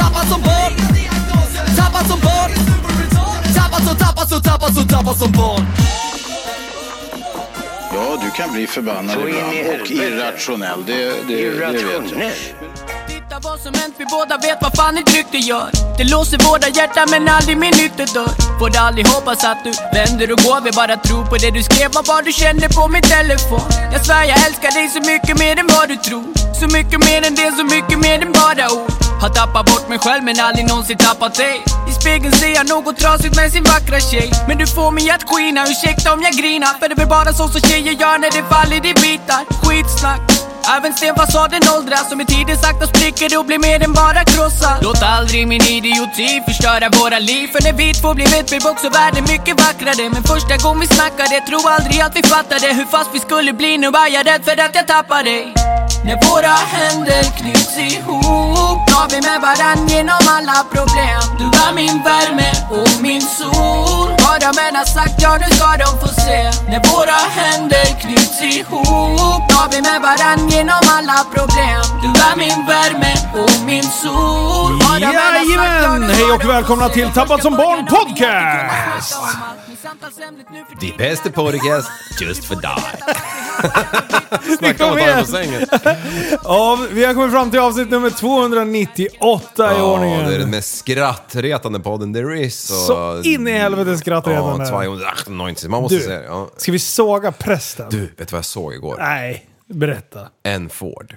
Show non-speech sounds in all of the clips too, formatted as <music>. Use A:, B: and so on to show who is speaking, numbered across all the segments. A: Tappad som barn Tappad som barn Tappad som, tappad som, tappad som, tappad som barn
B: Ja, du kan bli förbannad
C: Så in i
B: ibland och
C: helvete.
B: irrationell. Det, det, det vet jag.
C: Irrationell.
D: Titta vad som hänt, vi båda vet vad fan ett rykte gör Det låser våra hjärtan men aldrig min ytterdörr Borde aldrig hoppas att du vänder och går Vi bara tror på det du skrev och vad du kände på min telefon Jag svär jag älskar dig så mycket mer än vad du tror Så mycket mer än det, så mycket mer än bara ord Har tappat bort mig själv men aldrig någonsin tappat dig I spegeln ser jag något trasigt med sin vackra tjej Men du får mig att skina, ursäkta om jag grinar För det är väl bara så som tjejer gör när det faller i bitar Skitsnack Även stenfasaden åldras och med tiden sakta spricker det och blir mer än bara krossad Låt aldrig min idioti förstöra våra liv För när vi två blev ett blev också världen mycket vackrare Men första gången vi snackade tro aldrig att vi fattade hur fast vi skulle bli Nu var jag rädd för att jag tappar dig När våra händer knyts ihop Drar vi med varann genom alla problem Du var min värme och min sol Vad de än har sagt, ja nu ska de få se När våra händer knyts ihop Drar vi med varann genom alla problem Du var min värme och min sol Vad de än har sagt, ja, nu
E: Jajamän!
D: ska
E: Hej
D: de
E: och
D: få
E: välkomna
D: se.
E: till
D: Jag
E: Tappad
D: ska
E: som barn
D: börja när vi
E: podcast!
F: Die bästa podcast just för dig.
E: Snyggt
F: Snacka om
E: av
F: att ta
E: er!
F: den på sängen.
E: Ja, vi har kommit fram till avsnitt nummer 298 i
F: Ja,
E: ordningen.
F: det är den mest skrattretande podden there is. och-
E: Så in i helvete skrattretande.
F: Ja, 298. Man måste
E: Du,
F: säga det. Ja.
E: ska vi såga prästen?
F: Du, vet du vad jag såg igår?
E: Nej, berätta.
F: En Ford.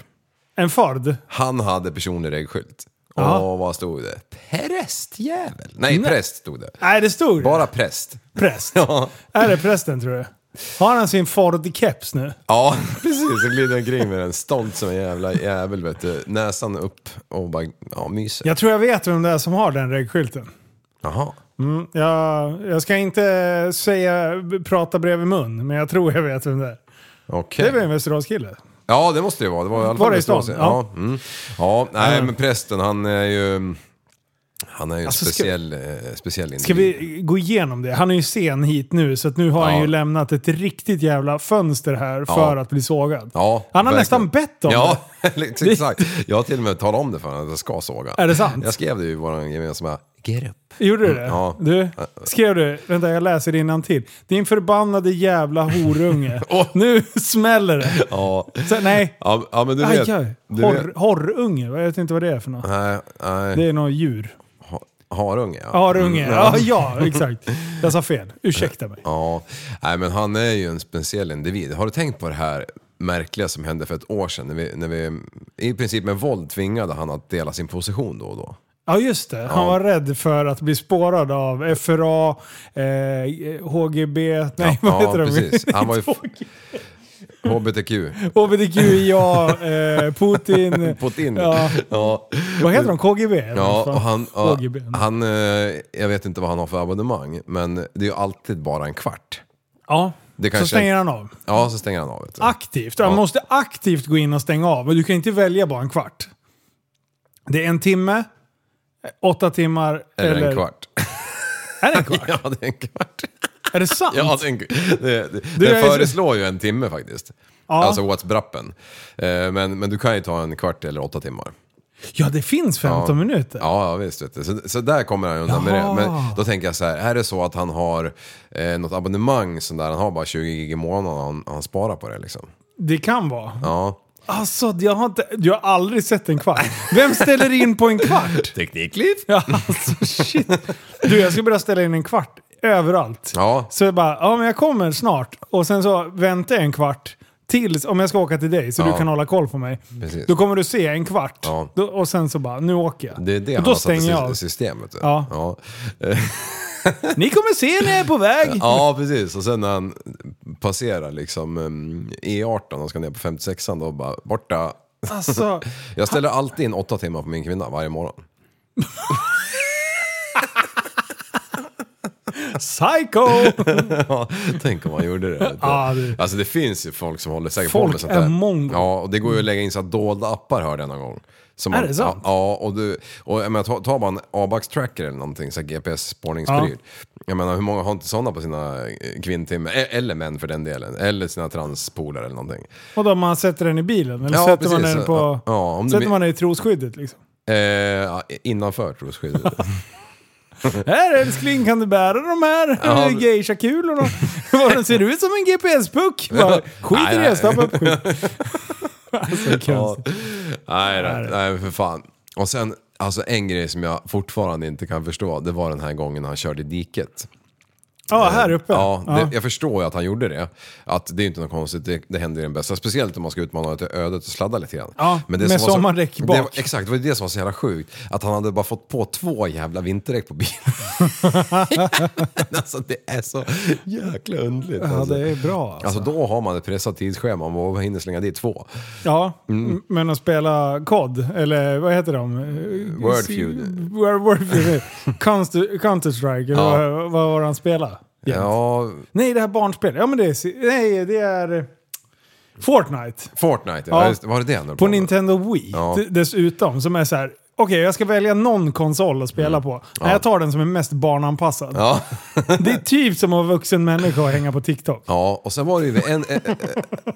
E: En Ford?
F: Han hade personlig regelskylt.
E: Ja.
F: Och vad stod det? Prästjävel. Nej, präst stod det.
E: Nej, det stod det.
F: Bara präst.
E: präst.
F: <laughs> Ja,
E: Är det prästen tror du? Har han sin Ford-keps nu?
F: ja <laughs> precis. Så glider han kring med den stolt som en jävla jävel. Vet du. Näsan upp och bara ja, myser.
E: Jag tror jag vet vem det är som har den regskylten.
F: Jaha.
E: Mm, jag, jag ska inte säga prata bredvid mun, men jag tror jag vet vem det är.
F: Okej.
E: Det är väl en Västeråskille?
F: Ja, det måste det vara. Det var i alla
E: Var
F: fall
E: det i stan? Eh.
F: Västerås. Ja. Ja, mm. ja, nej men prästen han är ju... Han är ju en
E: Alltså, ska-
F: speciell, eh, speciell
E: Ska
F: individ.
E: vi gå igenom det? Han är ju sen hit nu, så att nu har han
F: Ja.
E: ju lämnat ett riktigt jävla fönster här för att bli sågad.
F: Ja,
E: han har
F: verkligen.
E: nästan bett om
F: Ja,
E: det.
F: <laughs> exakt. Jag har till och med talat om det för honom att jag ska såga.
E: Är det sant?
F: Jag skrev det ju i vår gemensamma... Get up.
E: Gjorde du det?
F: ja.
E: Du, skrev du? Vänta, jag läser till. Din förbannade jävla horunge.
F: <laughs> Åh.
E: Nu smäller det.
F: Ja,
E: Så, nej.
F: ja, ja men du
E: Aj,
F: vet...
E: aj.
F: Du
E: Horr,
F: vet
E: horrunge? Jag vet inte vad det är för något.
F: nej, nej.
E: Det är något djur.
F: Ha- Harunge Mm, ja.
E: Harunge. Ja, ja, exakt. Jag sa fel. Ursäkta mig.
F: Ja, nej men han är ju en speciell individ. Har du tänkt på det här märkliga som hände för ett år sedan när vi, när vi i princip med våld tvingade han att dela sin position då och då?
E: Ja, just det. Han var rädd för att bli spårad av FRA, eh, HGB, <laughs> nej
F: Ja,
E: vad heter
F: ja,
E: de?
F: precis.
E: <laughs>
F: Han var ju f- HBTQ.
E: HBTQIA, eh,
F: <laughs>
E: Putin.
F: Putin.
E: Ja.
F: Ja.
E: Vad heter de? KGB? eller
F: Ja,
E: vad fan?
F: och han, ja,
E: KGB.
F: han, eh, jag vet inte vad han har för abonnemang, men det är ju alltid bara en kvart.
E: ja.
F: Det
E: Så
F: kanske-
E: stänger han av.
F: Ja, så stänger han av. Vet du.
E: Aktivt. Han
F: Ja.
E: måste aktivt gå in och stänga av. Men du kan inte välja bara en kvart. Det är en timme, eh, åtta timmar
F: Eller, en kvart. <laughs>
E: Är det en kvart?
F: Ja, det är en kvart.
E: Är det sant?
F: <laughs> Ja, den, det, det,
E: Du, jag
F: den
E: är så-
F: föreslår ju en timme faktiskt.
E: Ja.
F: Alltså Whatsappen. Eh, Men, men du kan ju ta en kvart eller åtta timmar.
E: Ja, det finns 15 minuter.
F: Ja, ja, visst. Vet du. Så, så där kommer han ju undan med
E: Jaha.
F: det. Men då tänker jag så här, är det så att han har eh, något abonnemang sån där, han har bara 20 gig i månaden och han, han sparar på det liksom?
E: Det kan vara.
F: Ja.
E: Alltså, jag har, inte, jag har aldrig sett en kvart. Vem ställer in på en kvart?
F: Teknikliv?
E: Ja, alltså shit. Du, jag ska börja ställa in en kvart överallt.
F: Ja.
E: Så jag bara, ja men jag kommer snart. Och sen så väntar jag en kvart. Tills, om jag ska åka till dig så du
F: Ja.
E: kan hålla koll på mig.
F: Precis.
E: Då kommer du se en kvart.
F: Ja.
E: Då, och sen så bara, nu åker jag.
F: Det är det
E: och
F: han
E: då
F: har satt i
E: stänger jag av.
F: sy- systemet. du.
E: Ja.
F: Ja. Eh,
E: Ni kommer se när jag är på väg.
F: <laughs> ja, precis. Och sen när mm, E han passerar liksom eh, E18 och ska ner på 56an då bara borta,
E: Alltså,
F: Jag ställer alltid in åtta timmar på min kvinna varje morgon.
E: psycho!
F: Ja, Tänk om man gjorde det. <laughs> vet du.
E: Ja, det-
F: Alltså det finns ju folk som håller säkert
E: Folk
F: på med sånt
E: är
F: där.
E: mongo.
F: Ja, och det går ju att lägga in så här dolda appar hörde jag någon gång. Som
E: Är
F: man-
E: det sant?
F: Ja, och, du, och jag menar, ta, ta bara en ABAX tracker eller någonting, så här GPS-spårningspryl. Jag menar hur många har inte sådana på sina eh, kvinntimmar, E- eller män för den delen, eller sina transpolare eller någonting.
E: Och då man sätter den i bilen? Eller
F: Ja,
E: sätter man
F: precis.
E: den på...
F: Ja, om du
E: sätter
F: men-
E: man den i trosskyddet liksom?
F: Eh, ja, innanför trosskyddet.
E: Här älskling, kan du bära de här ja.
F: Ja.
E: geisha-kulorna? <laughs> Vad den ser ut som en GPS-puck! Bara, Skit i
F: Nej,
E: det,
F: nej.
E: stoppa upp skit. Alltså, det är
F: <laughs> Ja.
E: konstigt.
F: Nej, nej, nej, för fan. Och sen, alltså en grej som jag fortfarande inte kan förstå, det var den här gången han körde i diket.
E: Ja, här uppe.
F: Ja,
E: Ja.
F: det, jag förstår ju att han gjorde det. Att det är inte något konstigt, det, det händer ju den bästa. Speciellt om man ska utmana till ödet och sladda lite grann.
E: Ja,
F: det
E: med
F: som var så-
E: sommardäck
F: det
E: bak.
F: var- Exakt, det var ju det som var så jävla sjukt. Att han hade bara fått på två jävla vinterdäck
E: <laughs>
F: på bilen. <laughs> alltså det är så jäkla underligt.
E: Ja,
F: alltså.
E: det är bra alltså.
F: Alltså då har man ett pressat tidsschema om man hinner slänga dit två.
E: Ja,
F: Mm.
E: m- men att spela COD, eller vad heter de? Eh,
F: Wordfeud.
E: Word- Wordfeud. Counter- Counter-Strike, eller
F: Ja.
E: vad, vad var det han spelade?
F: Ja,
E: Nej, det här barnspelet. Ja, men det är... si- Nej, det är... Fortnite.
F: Fortnite,
E: Ja.
F: ja. just det. var det det han höll
E: På
F: med?
E: Nintendo Wii
F: Ja.
E: d- dessutom, som är så här. Okej, jag ska välja någon konsol att spela på. Nej, jag tar den som är mest barnanpassad.
F: Mm. Ja.
E: <laughs> Det är typ som att vara vuxen människa och hänga på TikTok.
F: ja, och sen var det ju en... eh, eh,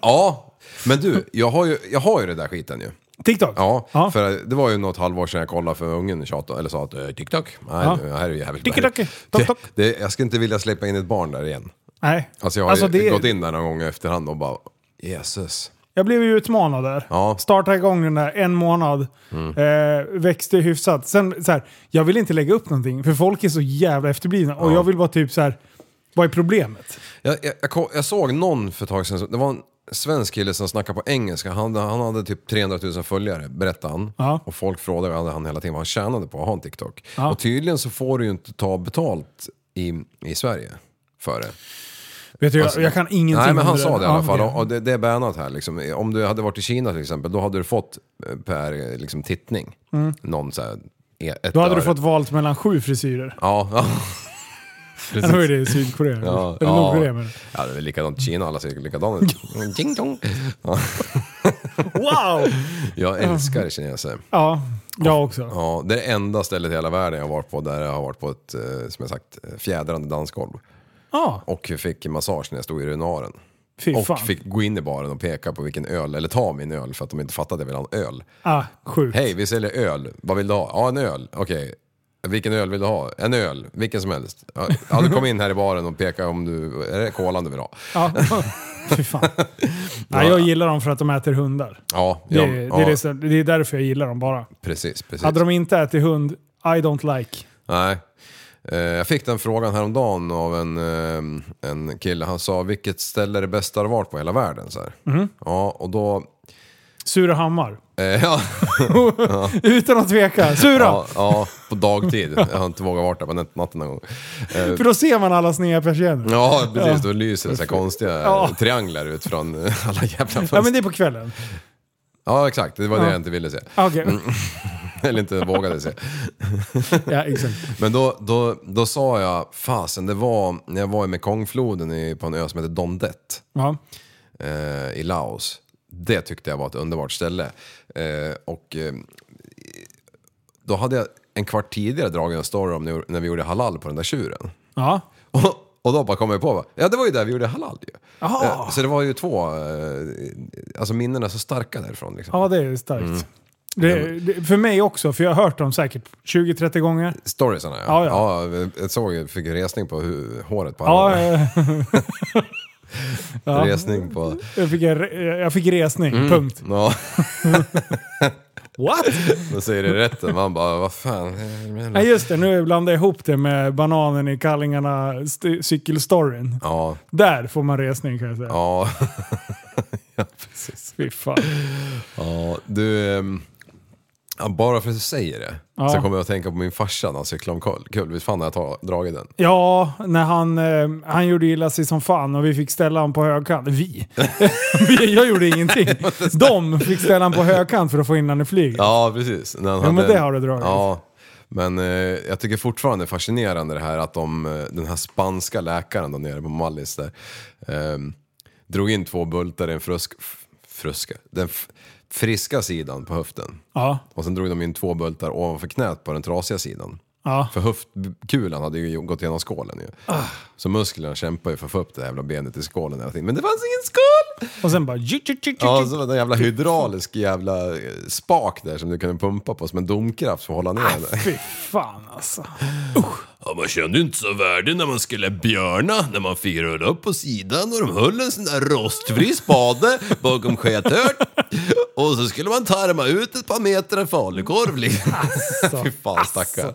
F: ja, men du, jag har, ju, jag har ju det där skiten ju.
E: TikTok?
F: Ja, för det var ju något halvår sedan jag kollade för ungen tjatade, eller sa att eh, TikTok, nej
E: Ja.
F: det här är ju jävligt
E: TikTok,
F: bra.
E: tok, tok.
F: Det, det, Jag skulle inte vilja släppa in ett barn där igen.
E: Nej.
F: Alltså jag har ju
E: det-
F: gått in där någon gång i efterhand och bara, Jesus.
E: Jag blev ju utmanad där.
F: Ja. Mm.
E: Startade igång den där en månad. Eh, växte hyfsat. Sen så här, jag vill inte lägga upp någonting för folk är så jävla efterblivna. Och
F: Ja.
E: jag vill bara typ så här, vad är problemet?
F: Jag, jag, jag, ko- jag såg någon för ett tag sedan, det var en svensk kille som snackade på engelska. Han, han hade typ 300 000 följare, berättade han.
E: Ja.
F: Och folk frågade vad han hela tiden vad han tjänade på att ha en TikTok. Och tydligen så får du ju inte ta betalt i, i Sverige för det.
E: Vet du, jag,
F: Alltså,
E: jag kan ingenting
F: Nej, men
E: om
F: han sa
E: där.
F: det i alla fall.
E: Ja,
F: Och det, det är bannat här. Liksom. Om du hade varit i Kina till exempel, då hade du fått eh, per eh, liksom, tittning. Någon så här, e- ett
E: Mm. Då hade du
F: öre.
E: fått valt mellan sju frisyrer.
F: Ja, <laughs> ja.
E: Precis. Nu är <laughs> det i Sydkorea.
F: Ja,
E: Eller
F: ja.
E: Nordkorea menar jag.
F: ja, det är väl likadant i Kina. Alla ser likadana ut.
E: <laughs>
F: Ding dong. Ja,
E: Wow!
F: jag älskar kineser.
E: Ja, jag också.
F: Ja, det är det enda stället i hela världen jag har varit på där jag har varit på ett, eh, som jag sagt, eh, fjädrande dansgolv.
E: Ja,
F: Och fick massage när jag stod i urinaren.
E: fy
F: Och
E: fan.
F: fick gå in i baren och peka på vilken öl, eller ta min öl för att de inte fattade att jag ville ha en öl.
E: Ah, sjukt.
F: Hej, vi säljer öl. Vad vill du ha? Ja, en öl. Okej. Vilken öl vill du ha? En öl, vilken som helst. Ja, Ja, du kom in här i baren och peka om du... Är det kolan du vill ha?
E: Ja. <laughs> Fy
F: <laughs>
E: fan. Nej, jag gillar dem för att de äter hundar.
F: Ja,
E: Det,
F: ja,
E: är- det,
F: ja,
E: är det, som- det är därför jag gillar dem bara.
F: precis. precis.
E: Hade de inte ätit hund, I don't like.
F: Nej. Eh, Jag fick den frågan häromdagen av en, eh, en kille. Han sa, vilket ställe är det bästa du har varit på i hela världen? Så här.
E: Mhm.
F: Ja, och då...
E: Surahammar.
F: eh, <laughs> Ja,
E: <laughs> Utan att tveka. Sura!
F: ja, ja, på dagtid. Jag har inte vågat vara där på nat- natten någon gång. Eh,
E: För då ser man alla sneda persienner. Ja.
F: Ja, precis. Då lyser det så här konstiga
E: Ja.
F: trianglar ut från <laughs> eh, alla jävla fönster.
E: men det är på kvällen.
F: Ja, exakt. Det var det jag inte ville se.
E: Ah, Okej.
F: Eller inte vågade se.
E: Ja, exakt.
F: Men då, då, då sa jag, fasen, det var när jag var i Mekongfloden i, på en ö som heter Dondet
E: Ja.
F: eh, i Laos. Det tyckte jag var ett underbart ställe. Eh, och eh, då hade jag en kvart tidigare dragit en story om när- när vi gjorde halal på den där tjuren. <laughs>
E: ja.
F: Och, och då bara kom jag på, va? ja det var ju där vi gjorde halal ju.
E: Jaha.
F: Eh, Så det var ju två, eh, alltså minnen är så starka därifrån liksom.
E: Ja, det är starkt.
F: Mm.
E: Det, det, för mig också, för jag har hört dem säkert 20-30 gånger.
F: Storiesarna
E: Ja,
F: ja. Ja,
E: ja.
F: jag såg, jag fick resning på hu- håret på alla.
E: Ja, eh, ja.
F: Resning på... <laughs>
E: Jag fick, en re- jag fick resning,
F: Mm.
E: punkt.
F: Ja,
E: What?
F: då säger det rätt. Man bara, vad fan. eh,
E: Nej just det, nu blandade jag ihop det med bananen i kallingarna st- cykelstoryn.
F: Ja,
E: Där får man resning kan jag säga.
F: ja.
E: Fy fan.
F: ja. Du, ehm, Ja, bara för att du säger det
E: Ja.
F: så kommer jag att tänka på min farsa när han cyklade omkull. Visst fan har jag ta- dragit den?
E: Ja, när han, eh, han gjorde illa sig som fan och vi fick ställa honom på högkant. Vi? <laughs> Vi- jag gjorde
F: <laughs>
E: ingenting. De fick ställa honom på högkant för att få in honom i flyget.
F: Ja, precis. När han
E: Ja, men
F: hade-
E: det har du dragit.
F: Ja, men eh, jag tycker fortfarande det är fascinerande det här att de, eh, den här spanska läkaren då nere på Mallis där, eh, drog in två bultar i en frusk, f- fruska, den f- friska sidan på höften.
E: Ja.
F: Och sen drog de in två bultar ovanför knät på den trasiga sidan.
E: Ja.
F: För höftkulan hade ju gått igenom skålen ju. Så musklerna kämpade ju för att få upp det jävla benet i skålen hela tiden. Men det fanns ingen skål!
E: Och sen bara... tju, tju, tju, tju,
F: Ja,
E: tju.
F: så var det en jävla hydraulisk jävla eh, spak där som du kunde pumpa på som en domkraft för att hålla ner det.
E: Fy fan alltså.
F: Ja, man kände ju inte så värdig när man skulle björna, när man firade upp på sidan och de höll en sån där rostfri spade bakom skethört. Och så skulle man tarma ut ett par meter falukorv liksom. Fy fan stackarn.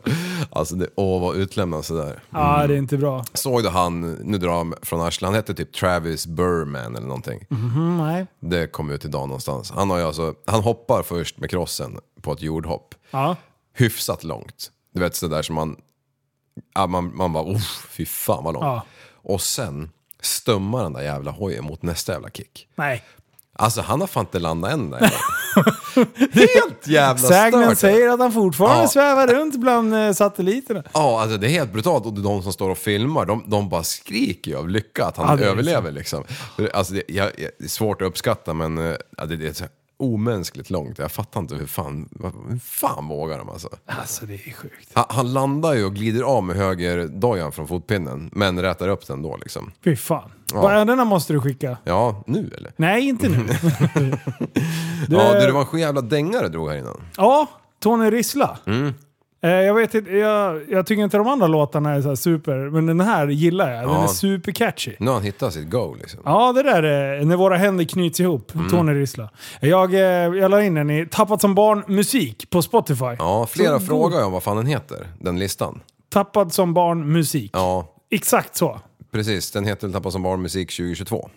F: Alltså, det, åh vad utlämnande sådär.
E: Ja, det är inte bra.
F: Såg du han, nu drar jag från arslet, han hette typ Travis Burman eller någonting.
E: Mm, nej.
F: Det kom ut idag någonstans. Han, har ju alltså, han hoppar först med krossen på ett jordhopp
E: Ja.
F: hyfsat långt. Du vet sådär som man... Ja, man, man bara uff, fy fan vad långt.
E: Ja.
F: Och sen stömmar den där jävla hojen mot nästa jävla kick.
E: Nej.
F: Alltså han har fan inte landat än där jävla.
E: <laughs>
F: Helt jävla
E: Sägnen
F: stört.
E: säger att han fortfarande
F: Ja.
E: svävar runt bland eh, satelliterna.
F: Ja, alltså det är helt brutalt. Och de som står och filmar, de, de bara skriker ju av lycka att
E: Ja,
F: han
E: det är
F: överlever liksom. Alltså det, jag, jag, det är svårt att uppskatta men eh, ja, det, det är så här omänskligt långt. Jag fattar inte hur fan, vad- hur fan vågar de alltså?
E: Alltså det är sjukt.
F: Han, han landar ju och glider av med högerdojan från fotpinnen, men rätar upp den då liksom.
E: Fy fan. Brallorna måste du skicka.
F: Ja, nu eller?
E: Nej, inte
F: <laughs>
E: nu. Du,
F: Ja, du,
E: eh,
F: det var en sju jävla dängare drog här innan.
E: Ja, Tony Rissla.
F: Mm.
E: Eh, jag, vet inte, jag, jag tycker inte de andra låtarna är så här super, men den här gillar jag. Den
F: Ja.
E: är supercatchy.
F: Nu har han hittat sitt go liksom.
E: Ja, det där är när våra händer knyts ihop.
F: Mm.
E: Tony Rissla. Jag, eh, jag la in den i Tappat som barn musik på Spotify.
F: Ja,
E: Så
F: flera
E: god-
F: frågar jag om vad fan den heter, den listan.
E: Tappad som barn musik.
F: Ja,
E: Exakt så.
F: precis. Den heter Tappa som barn musik 2022.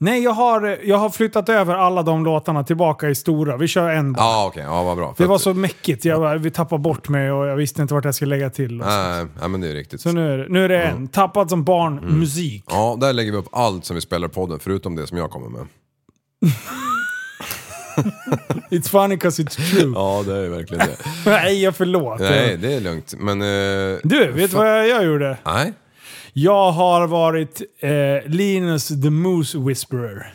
E: Nej, jag har, jag har flyttat över alla de låtarna tillbaka i stora. Vi kör en bara.
F: Ja, okej. Ja, vad bra. För
E: Det var
F: att-
E: så mäckigt. Jag, bara, vi tappade bort mig och jag visste inte vart jag skulle lägga till.
F: Nej, Mm. nej, men det är riktigt.
E: Så nu är, det, nu är det en. Tappad som barn
F: Mm.
E: musik.
F: Ja, där lägger vi upp allt som vi spelar i podden, förutom det som jag kommer med.
E: It's funny 'cause it's true.
F: Ja, det är verkligen det.
E: Nej, jag förlåt.
F: <laughs> nej, det är lugnt. Men... eh,
E: Du, vet du vad jag, jag gjorde?
F: Nej.
E: Jag har varit eh, Linus the Moose Whisperer.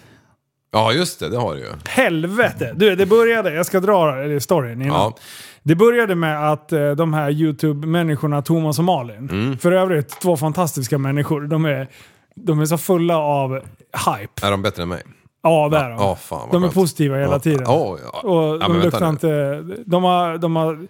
F: Ja, just det. Det har du ju.
E: Helvete! Du, det började... Jag ska dra eh, storyn innan.
F: Ja.
E: Det började med att eh, de här YouTube-människorna Thomas och Malin,
F: Mm.
E: för övrigt två fantastiska människor, de är, de är så fulla av hype.
F: Är de bättre än mig?
E: Ja, det är de.
F: ja, fan, vad
E: de är
F: skönt.
E: positiva hela
F: Ja.
E: tiden.
F: Ja, ja.
E: Och
F: Ja,
E: de
F: men
E: luktar
F: vänta nu.
E: inte... De har, de, har,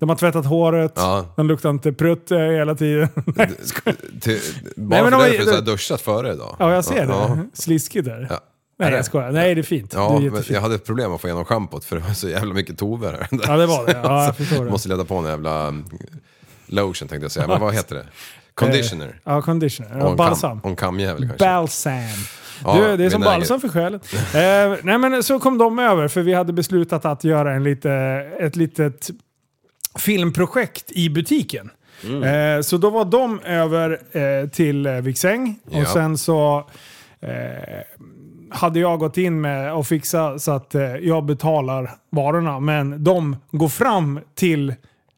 E: de har tvättat håret,
F: Ja.
E: de luktar inte prutt eh, hela tiden. <laughs> Nej, jag skojar.
F: Till,
E: Nej,
F: bara
E: men
F: för
E: de
F: det
E: är-
F: för att du har duschat före idag.
E: ja, jag ser det. <laughs>
F: Ja,
E: Sliskigt där.
F: ja.
E: Nej,
F: Är det?
E: jag skojar. Nej, det är fint.
F: Ja,
E: det är
F: men
E: jättefint.
F: jag hade ett problem att få igenom schampot för det var så jävla mycket tover här.
E: Ja, det var det. Ja,
F: <laughs>
E: jag förstår det.
F: Måste lägga på en jävla mm, lotion tänkte jag säga, men vad heter
E: <laughs>
F: det? Conditioner.
E: Ja, conditioner.
F: Och
E: Eh, Ja,
F: en
E: balsam.
F: Kam, och en kamjävel kanske.
E: Balsam.
F: Ja,
E: du, det är som
F: vinäger.
E: balsam för själen. eh, nej men så kom de över för vi hade beslutat att göra en lite, ett litet filmprojekt i butiken.
F: Mm.
E: Eh, så då var de över eh, till eh, Viksäng och
F: Ja.
E: sen så eh, hade jag gått in med och fixa så att eh, jag betalar varorna men de går fram till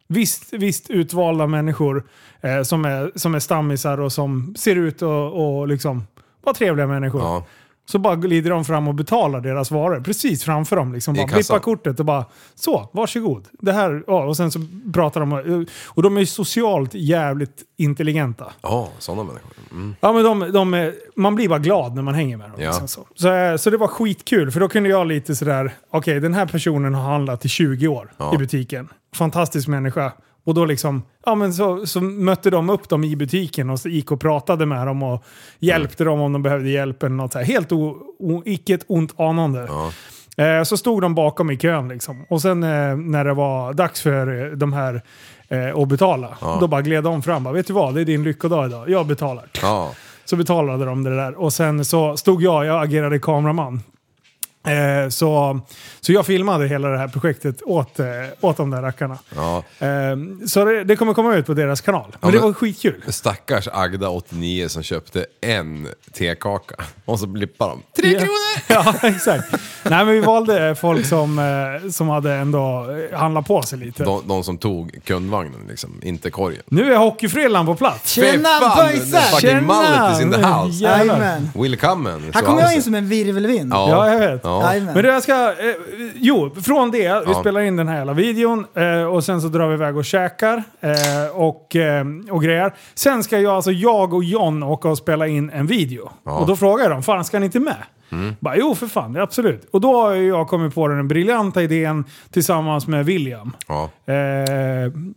E: visst, visst utvalda människor eh, som, är, som är stammisar och som ser ut och, och liksom vara trevliga människor.
F: Ja.
E: Så bara glider de fram och betalar deras varor precis framför dem. Liksom bara
F: kassan.
E: blippar kortet och bara så, varsågod. Det här, ja, och sen så pratar de. eh, Och de är ju socialt jävligt intelligenta.
F: Ja, sådana människor. Mm.
E: Ja, men de, de, är- man blir bara glad när man hänger med dem.
F: Ja.
E: Liksom så. Så, eh, så det var skitkul, för då kunde jag lite sådär, okej den här personen har handlat i 20 år
F: Ja.
E: i butiken. Fantastisk människa. Och då liksom, ja men så, så mötte de upp dem i butiken och så gick och pratade med dem och hjälpte dem om de behövde hjälp eller något så här. Helt o, o, icke ett ont anande. Eh, Så stod de bakom i kön liksom. Och sen eh, när det var dags för eh, de här eh, att betala, då bara gled de fram. Bara, Vet du vad, det är din lyckodag idag. Jag betalar.
F: Ja.
E: Så betalade de det där. Och sen så stod jag, jag agerade kameraman. Eh, så, så jag filmade hela det här projektet åt, eh, åt de där rackarna.
G: Ja.
E: Eh, så det, det kommer komma ut på deras kanal. Men,
G: men-
E: det var skitkul. <laughs>
G: Stackars Agda, 89, som köpte en tekaka. Och så blippar de. Tre
E: Ja.
G: kronor!
E: Ja, exakt. Nej, men vi valde folk som, eh, som hade ändå eh, handlat på sig lite.
G: De, de som tog kundvagnen liksom, inte korgen.
E: Nu är hockeyfrillan på plats.
H: Tjena
G: Fy fan,
H: pojsar!
G: the fucking mullet is in the
E: Tjena!
G: house.
E: Jävlar.
H: Jajamän.
G: Willkommen!
H: Här kommer jag in som en virvelvind.
E: Ja, jag vet.
G: alltså. Ja.
H: Jajamän.
E: Men du, jag ska... Eh, jo, från det. Vi
G: Ja.
E: spelar in den här hela videon eh, och sen så drar vi iväg och käkar eh, och, eh, och grejer. Sen ska jag, alltså jag och John åka och spela in en video. Och då frågar jag dem, fan ska ni inte med?
G: Mm.
E: Bara, jo för fan, absolut. Och då har ju jag kommit på den briljanta idén tillsammans med William.
G: Ja.
E: Eh,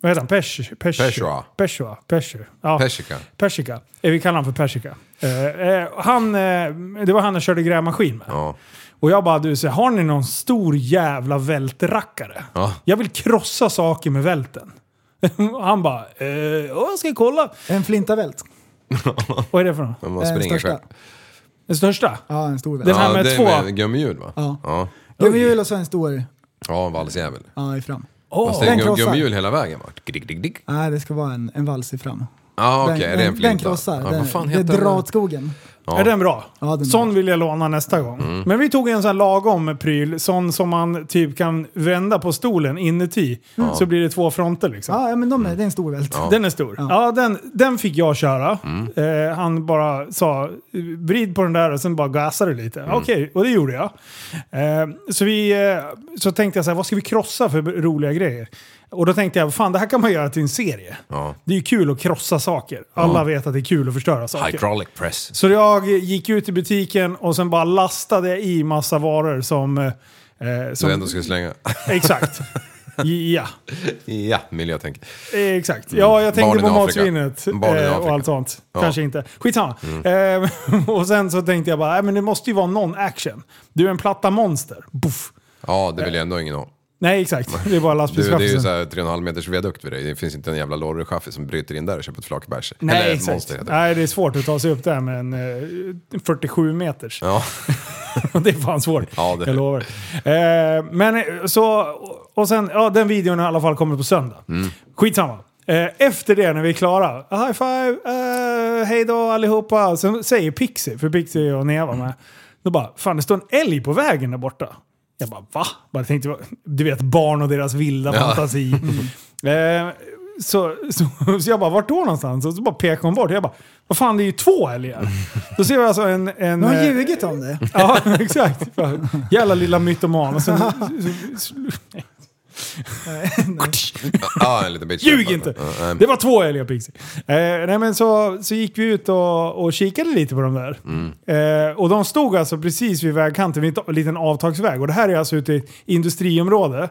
E: vad heter han? Pesh, pesh,
G: Peshua.
E: Peshua. Peshua. Ja.
G: Persika.
E: Persika. Eh, vi kallar honom för Persika. Eh, eh, han, eh, det var han jag körde grävmaskin med.
G: Ja.
E: Och jag bara, du, så här, har ni någon stor jävla vältrackare?
G: Ja.
E: Jag vill krossa saker med välten. <laughs> han bara, eh, ja, jag ska kolla.
H: En flintavält.
E: Vad är det för något?
G: Men
H: Eh,
G: man
H: Den
G: springer
H: största.
G: själv.
E: Den största?
H: Ja, en stor
E: Den
H: vält.
E: här
G: Ja,
E: med
G: det
E: två.
G: är med gummihjul va?
H: Ja.
G: Ja,
H: Gummihjul och så en stor
G: ja en valsjävel.
H: ja, i fram.
G: Fast det är
H: den
G: gu-
H: krossar.
G: gummihjul hela vägen va? Dick, dick, dick.
H: Nej, det ska vara en, en vals i fram.
G: Ja, okej. är
H: den,
G: det en
H: den, den
G: flinta?
H: krossar.
G: Ja, vad fan
H: den, det
G: heter den?
H: drar åt skogen.
E: Är den bra?
H: Ja, den är
E: sån
H: bra.
E: vill jag låna nästa gång.
G: Mm.
E: Men vi tog en sån här lagom pryl, sån som man typ kan vända på stolen inuti. Så blir det två fronter liksom.
H: Ja, ja, men de är, det är en stor vält.
E: Den är stor. Ja, den, den fick jag köra.
G: Mm.
E: Eh, han bara sa vrid på den där och sen bara gasade du lite.
G: Mm.
E: Okej, och det gjorde jag. Eh, så, vi, eh, så tänkte jag så här, vad ska vi krossa för roliga grejer? Och då tänkte jag, fan det här kan man göra till en serie.
G: Ja.
E: Det är ju kul att krossa saker. Alla vet att det är kul att förstöra saker.
G: Hydraulic press.
E: Så jag gick ut i butiken och sen bara lastade jag i massa varor som... eh, Eh,
G: Du
E: som
G: ändå skulle slänga. <laughs>
E: Exakt. Ja,
G: ja, miljötänk.
E: eh, exakt. Ja, jag tänkte
G: Barnen Mm. i
E: på
G: Afrika.
E: matsvinnet
G: Barnen i
E: eh, och
G: Afrika.
E: allt sånt.
G: Ja. Mm.
E: Kanske inte. Skitsamma. Eh, <laughs> och sen så tänkte jag bara, "Nej, men det måste ju vara någon action. Du är en platta monster. Buff.
G: Ja, det vill jag ändå ingen ha.
E: Nej, exakt.
G: <laughs>
E: Det
G: Du,
E: är bara
G: det är ju
E: lastbilschaffisen.
G: såhär 3,5 meters viadukt vid dig. Det finns inte en jävla lorrychaffis som bryter in där och köper ett flak bärs.
E: Nej,
G: Eller ett
E: exakt.
G: monster heter det.
E: Nej, det är svårt att ta sig upp där med en eh, 47 meters.
G: Ja, <laughs>
E: <laughs> det är fan svårt.
G: Ja, det-
E: Jag lovar. Eh, men eh, så, och sen, ja den videon har i alla fall kommit på söndag. Skitsamma. Eh, efter det när vi är klara, "Ah, high five, eh, hej då allihopa. Sen säger Pixie, för Pixie och Nea var med. Då bara, fan det står en älg på vägen där borta. Jag bara, va? Bara tänkte, du vet barn och deras vilda fantasi. Eh, så, så, så jag bara, vart då någonstans? Och så bara pekade hon bort. Jag bara, vad fan det är ju två älgar. Då ser vi alltså en... en
H: De har
E: eh,
H: ljugit om det.
E: Ja, <laughs> exakt. Fan. Jävla lilla mytoman. Och sen,
G: ja en liten bitch.
E: ljug inte!
G: Ja, nej.
E: Det var två älgar Pixie. Eh, nej men så, så gick vi ut och, och kikade lite på de där.
G: Mm.
E: Eh, och de stod alltså precis vid vägkanten, vid en liten avtagsväg. Och det här är alltså ute i ett industriområde.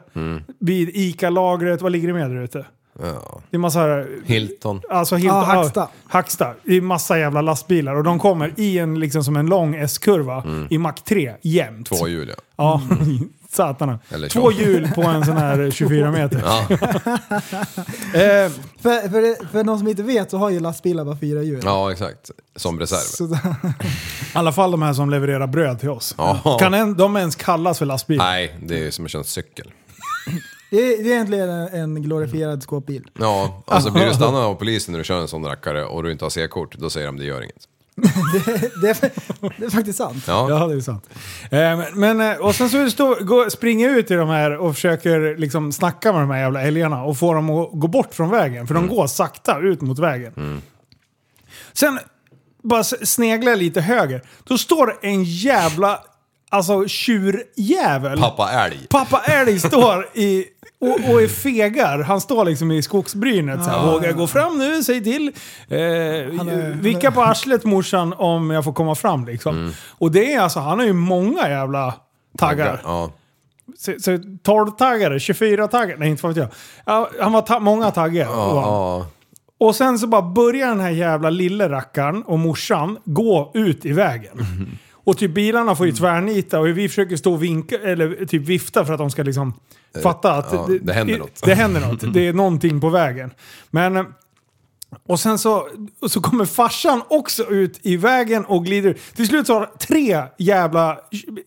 E: Vid ICA-lagret, vad ligger det mer där ute?
G: Mm. Ja.
E: Det är massa här,
G: Hilton.
E: Alltså helt,
H: Ja, Hacksta.
E: Hacksta. Det är massa jävla lastbilar och de kommer i en, liksom, som en lång S-kurva i Mack 3 jämt.
G: Mm. Två hjul ja.
E: Ja, <laughs> satana.
G: Eller
E: Två
G: tjock.
E: hjul på en
G: <laughs>
E: sån här 24 meter. eh,
H: För, för, det- för någon som inte vet så har ju lastbilar bara fyra hjul.
G: Ja, exakt. Som reserv.
H: Så,
E: I alla fall de här som levererar bröd till oss.
G: Ja.
E: Kan en, de ens kallas för lastbilar?
G: Nej, det är ju som att köra en cykel.
H: det, är, det är egentligen en, en glorifierad skåpbil.
G: Ja, alltså blir du stannad av polisen när du kör en sån rackare och du inte har C-kort, då säger de det gör inget.
H: Det är, det är faktiskt sant.
G: Ja,
E: Ja, det är sant. Eh, men- men, eh, och sen så stå, gå, springer jag ut i de här och försöker liksom snacka med de här jävla älgarna och få dem att gå bort från vägen. För de
G: Mm.
E: går sakta ut mot vägen. Sen bara s- sneglar jag lite höger. Då står det en jävla alltså, tjurjävel.
G: pappa älg.
E: Pappa Älg står i, och, och är fegar. Han står liksom i skogsbrynet. Så här, Vågar jag gå fram nu? Säg till. Eh, vicka på arslet morsan om jag får komma fram liksom.
G: Mm.
E: Och det är alltså, han har ju många jävla taggar.
G: Ja.
E: Så, så 12-taggare, 24-taggare, nej inte fan vet jag. Ja, han var ta- många taggar. var han.
G: Ja.
E: Och sen så bara börjar den här jävla lille rackaren och morsan gå ut i vägen. Och typ bilarna får ju tvärnita och vi försöker stå och vinka, eller typ vifta för att de ska liksom fatta att
G: Eh, ja, det händer något.
E: Det, händer något. Det är någonting på vägen. Men eh, Och sen så, och så kommer farsan också ut i vägen och glider Till slut så har tre jävla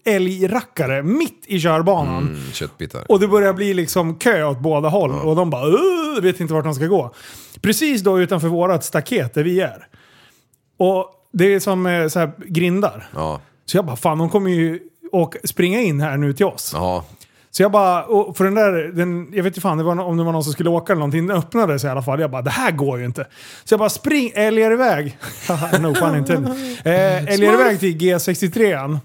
E: älgrackare mitt i körbanan.
G: Mm.
F: Mm, Köttbitar.
E: Och det börjar bli liksom kö åt båda håll. Och de bara "Åh", vet inte vart de ska gå. Precis då utanför vårat staket där vi är. Och det är som eh, så här, grindar.
F: Ja.
E: Så jag bara, fan de kommer ju och springa in här nu till oss.
F: Ja.
E: Så jag bara, och för den där, den, jag vet inte fan det var, nå- om det var någon som skulle åka eller någonting, den öppnade sig i alla fall. Jag bara, det här går ju inte. Så jag bara, spring, älgar iväg. <laughs> Haha, no pun intended. Eh, älgar iväg till G63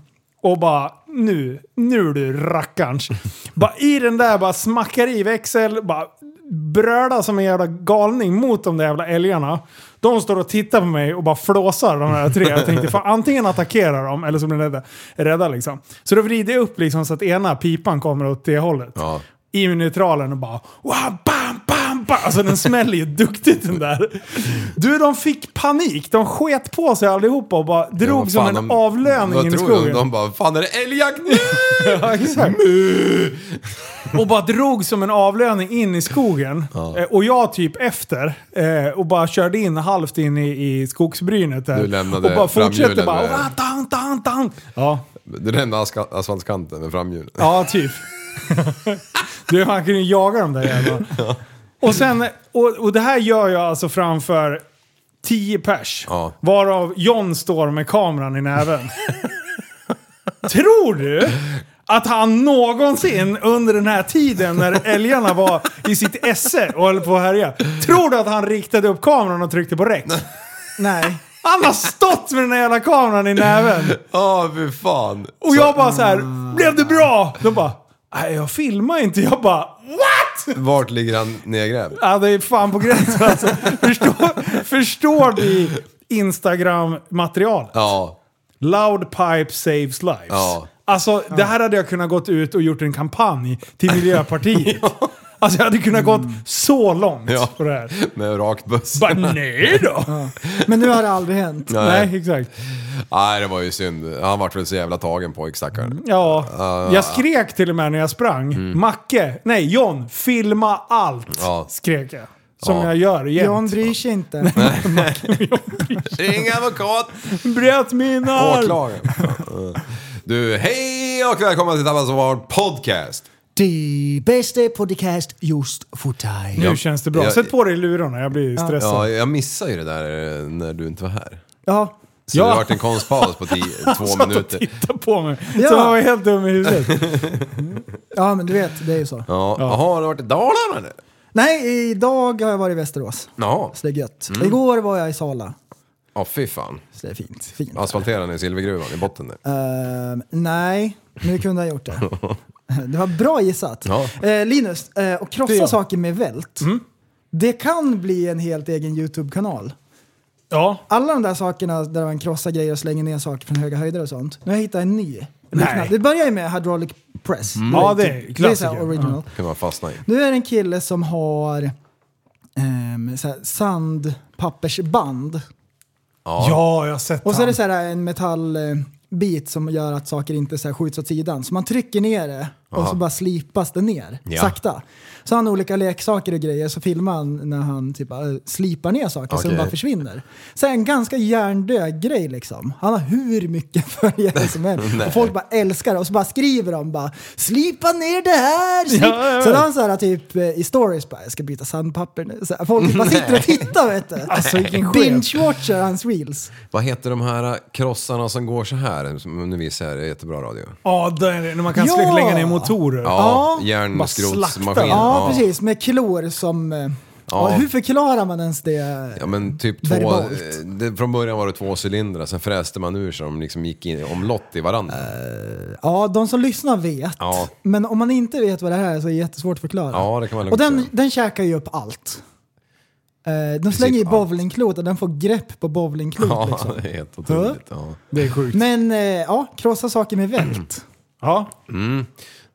E: och bara, nu, nu du rackarns. bara i den där, bara smackar i växel, bara brölar som en jävla galning mot de där jävla älgarna. De står och tittar på mig och bara flåsar de här tre. Jag tänkte fan, antingen attackerar de eller så blir de rädda. rädda liksom. Så då vrider jag upp liksom så att ena pipan kommer åt det hållet.
F: Ja.
E: I neutralen och bara wow, bam, bam, bam. Alltså den smäller ju duktigt den där. Du, de fick panik. De sket på sig allihopa och bara drog
F: Vad
E: som
F: fan,
E: en
F: de-
E: avlöning
F: vad
E: in i
F: tror du?
E: skogen.
F: De bara, fan är det älgjakt nu? <laughs>
E: Ja, exakt. och bara drog som en avlöning in i skogen. Eh, Och jag typ efter. eh, Och bara körde in halvt in i, i skogsbrynet där.
F: Du lämnade
E: och bara fortsätter
F: framhjulen
E: bara...
F: med-
E: "Ah, tan, tan, tan." Ja,
F: Du lämnade aska- asfaltskanten med framhjulet.
E: ja typ. du, man kunde ju jaga dem där jävlarna. Och, sen, och, och det här gör jag alltså framför 10 pers.
F: Ja.
E: Varav John står med kameran i näven. Tror du att han någonsin under den här tiden när älgarna var i sitt esse och höll på att härja. Tror du att han riktade upp kameran och tryckte på räck?
H: Nej.
E: Han har stått med den här jävla kameran i näven.
F: Ja, fy fan.
E: Och jag bara så här, blev det bra? De bara, nej jag filmar inte. Jag bara, what?
F: Vart ligger han nedgrävd?
E: Ja, det är fan på gränsen alltså. förstår, förstår ni Instagram-materialet?
F: Ja.
E: Loud pipe saves lives.
F: Ja.
E: Alltså, det här hade jag kunnat gått ut och gjort en kampanj till Miljöpartiet. Alltså, jag hade kunnat gått så långt
F: Ja.
E: på det här.
F: Med rakt buss.
E: Bara, nej då!
H: Men nu har det aldrig hänt.
E: nej. exakt.
F: Nej, det var ju synd. Han vart väl så jävla tagen på stackaren.
E: Ja,
F: Ah.
E: jag skrek till och med när jag sprang. Macke, nej John, filma allt!
F: Mm. Ja.
E: Skrek jag. Som
F: Ja.
E: jag gör jämt.
H: John bryr sig inte.
F: Ring advokat!
E: bröt min arm!
F: Åklagaren. Du, hej och välkomna till Tappad som barn podcast.
H: Det bästa podcast just för dig.
E: Nu
F: Ja.
E: känns det bra.
F: Jag-
E: Sätt på dig lurarna, jag blir stressad.
F: Ja, jag missade ju det där eh, när du inte var här.
H: Ja.
F: Så
E: Ja.
F: det vart en konstpaus på tio, två
E: Satt och
F: minuter.
E: tittade på mig.
H: Ja.
E: Så jag var helt dum i
F: <laughs>
E: huvudet.
H: ja, men du vet, det är ju så.
F: Ja, jaha, har du varit i Dalarna nu?
H: Nej, idag har jag varit i Västerås.
F: Ja.
H: Så det är gött.
E: Mm.
H: Igår var jag i Sala.
F: Ja, fy fan.
H: Så det är fint. fint.
F: Asfalterar ni silvergruvan i botten nu?
H: Ehm, nej, men vi kunde ha
E: <laughs>
H: gjort det. Det var bra gissat.
F: Ja.
H: Eh, Linus, eh, att
E: Det är
H: krossa
E: jag. Mm.
H: saker med vält. Det kan bli en helt egen YouTube-kanal.
E: Ja.
H: Alla de där sakerna där man krossar grejer och slänger ner saker från höga höjder och sånt. Nu har jag hittat en ny. liknande. Det börjar ju med hydraulic press.
E: Mm. Ja, det är
H: Det är så här
E: klassiker.
H: original.
F: kan man fastna i.
H: Nu är det en kille som har ehm, så här sandpappersband.
E: ja, jag har sett
H: Och så är det
E: han.
H: så här en metallbit som gör att saker inte så här skjuts åt sidan. Så man trycker ner det och så bara slipas det ner
F: Ja.
H: sakta. Så har han olika leksaker och grejer så filmar han när han typ, äh, slipar ner saker så de
F: Okej.
H: bara försvinner. Så en ganska hjärndöd grej liksom. Han har hur mycket <laughs> följare
E: <laughs>
H: som helst och folk bara älskar det och så bara skriver de bara slipa ner det här! Slip.
E: Ja, ja,
H: Så
E: ja.
H: då har han så här typ eh, i stories bara jag ska byta sandpapper nu. Så här, folk
E: <laughs>
H: bara sitter och tittar vet du.
E: Alltså, vilken chef.
H: Binge-watchar hans reels.
F: Vad heter de här eh, krossarna som går så här? eh, Som Nu visar jag det, jättebra radio.
E: Ja, där, när man kan
H: Ja!
E: slänga ner motorer.
F: Ja,
H: Ja.
E: Bara slakta.
F: järnskrotsmaskin.
H: Ja, precis. Med klor som... eh, Ja. Hur förklarar man ens det?
F: Ja men typ två,
H: Verbalt.
F: eh, det, från början var det två cylindrar, sen fräste man ur så de liksom gick in, omlott i varandra.
H: Ja, de som lyssnar vet.
F: Ja.
H: Men om man inte vet vad det här är så är det jättesvårt att förklara.
F: Ja, det kan man lugnt
H: Och den,
F: säga.
H: den käkar ju upp allt. Eh, De slänger ju
F: allt.
H: bowlingklot och den får grepp på bowlingklot.
F: Ja,
H: Liksom.
F: det är helt otroligt. Ja.
E: Det är sjukt.
H: Men eh, ja, krossa saker med
F: <clears throat>
H: vält.
E: Ja.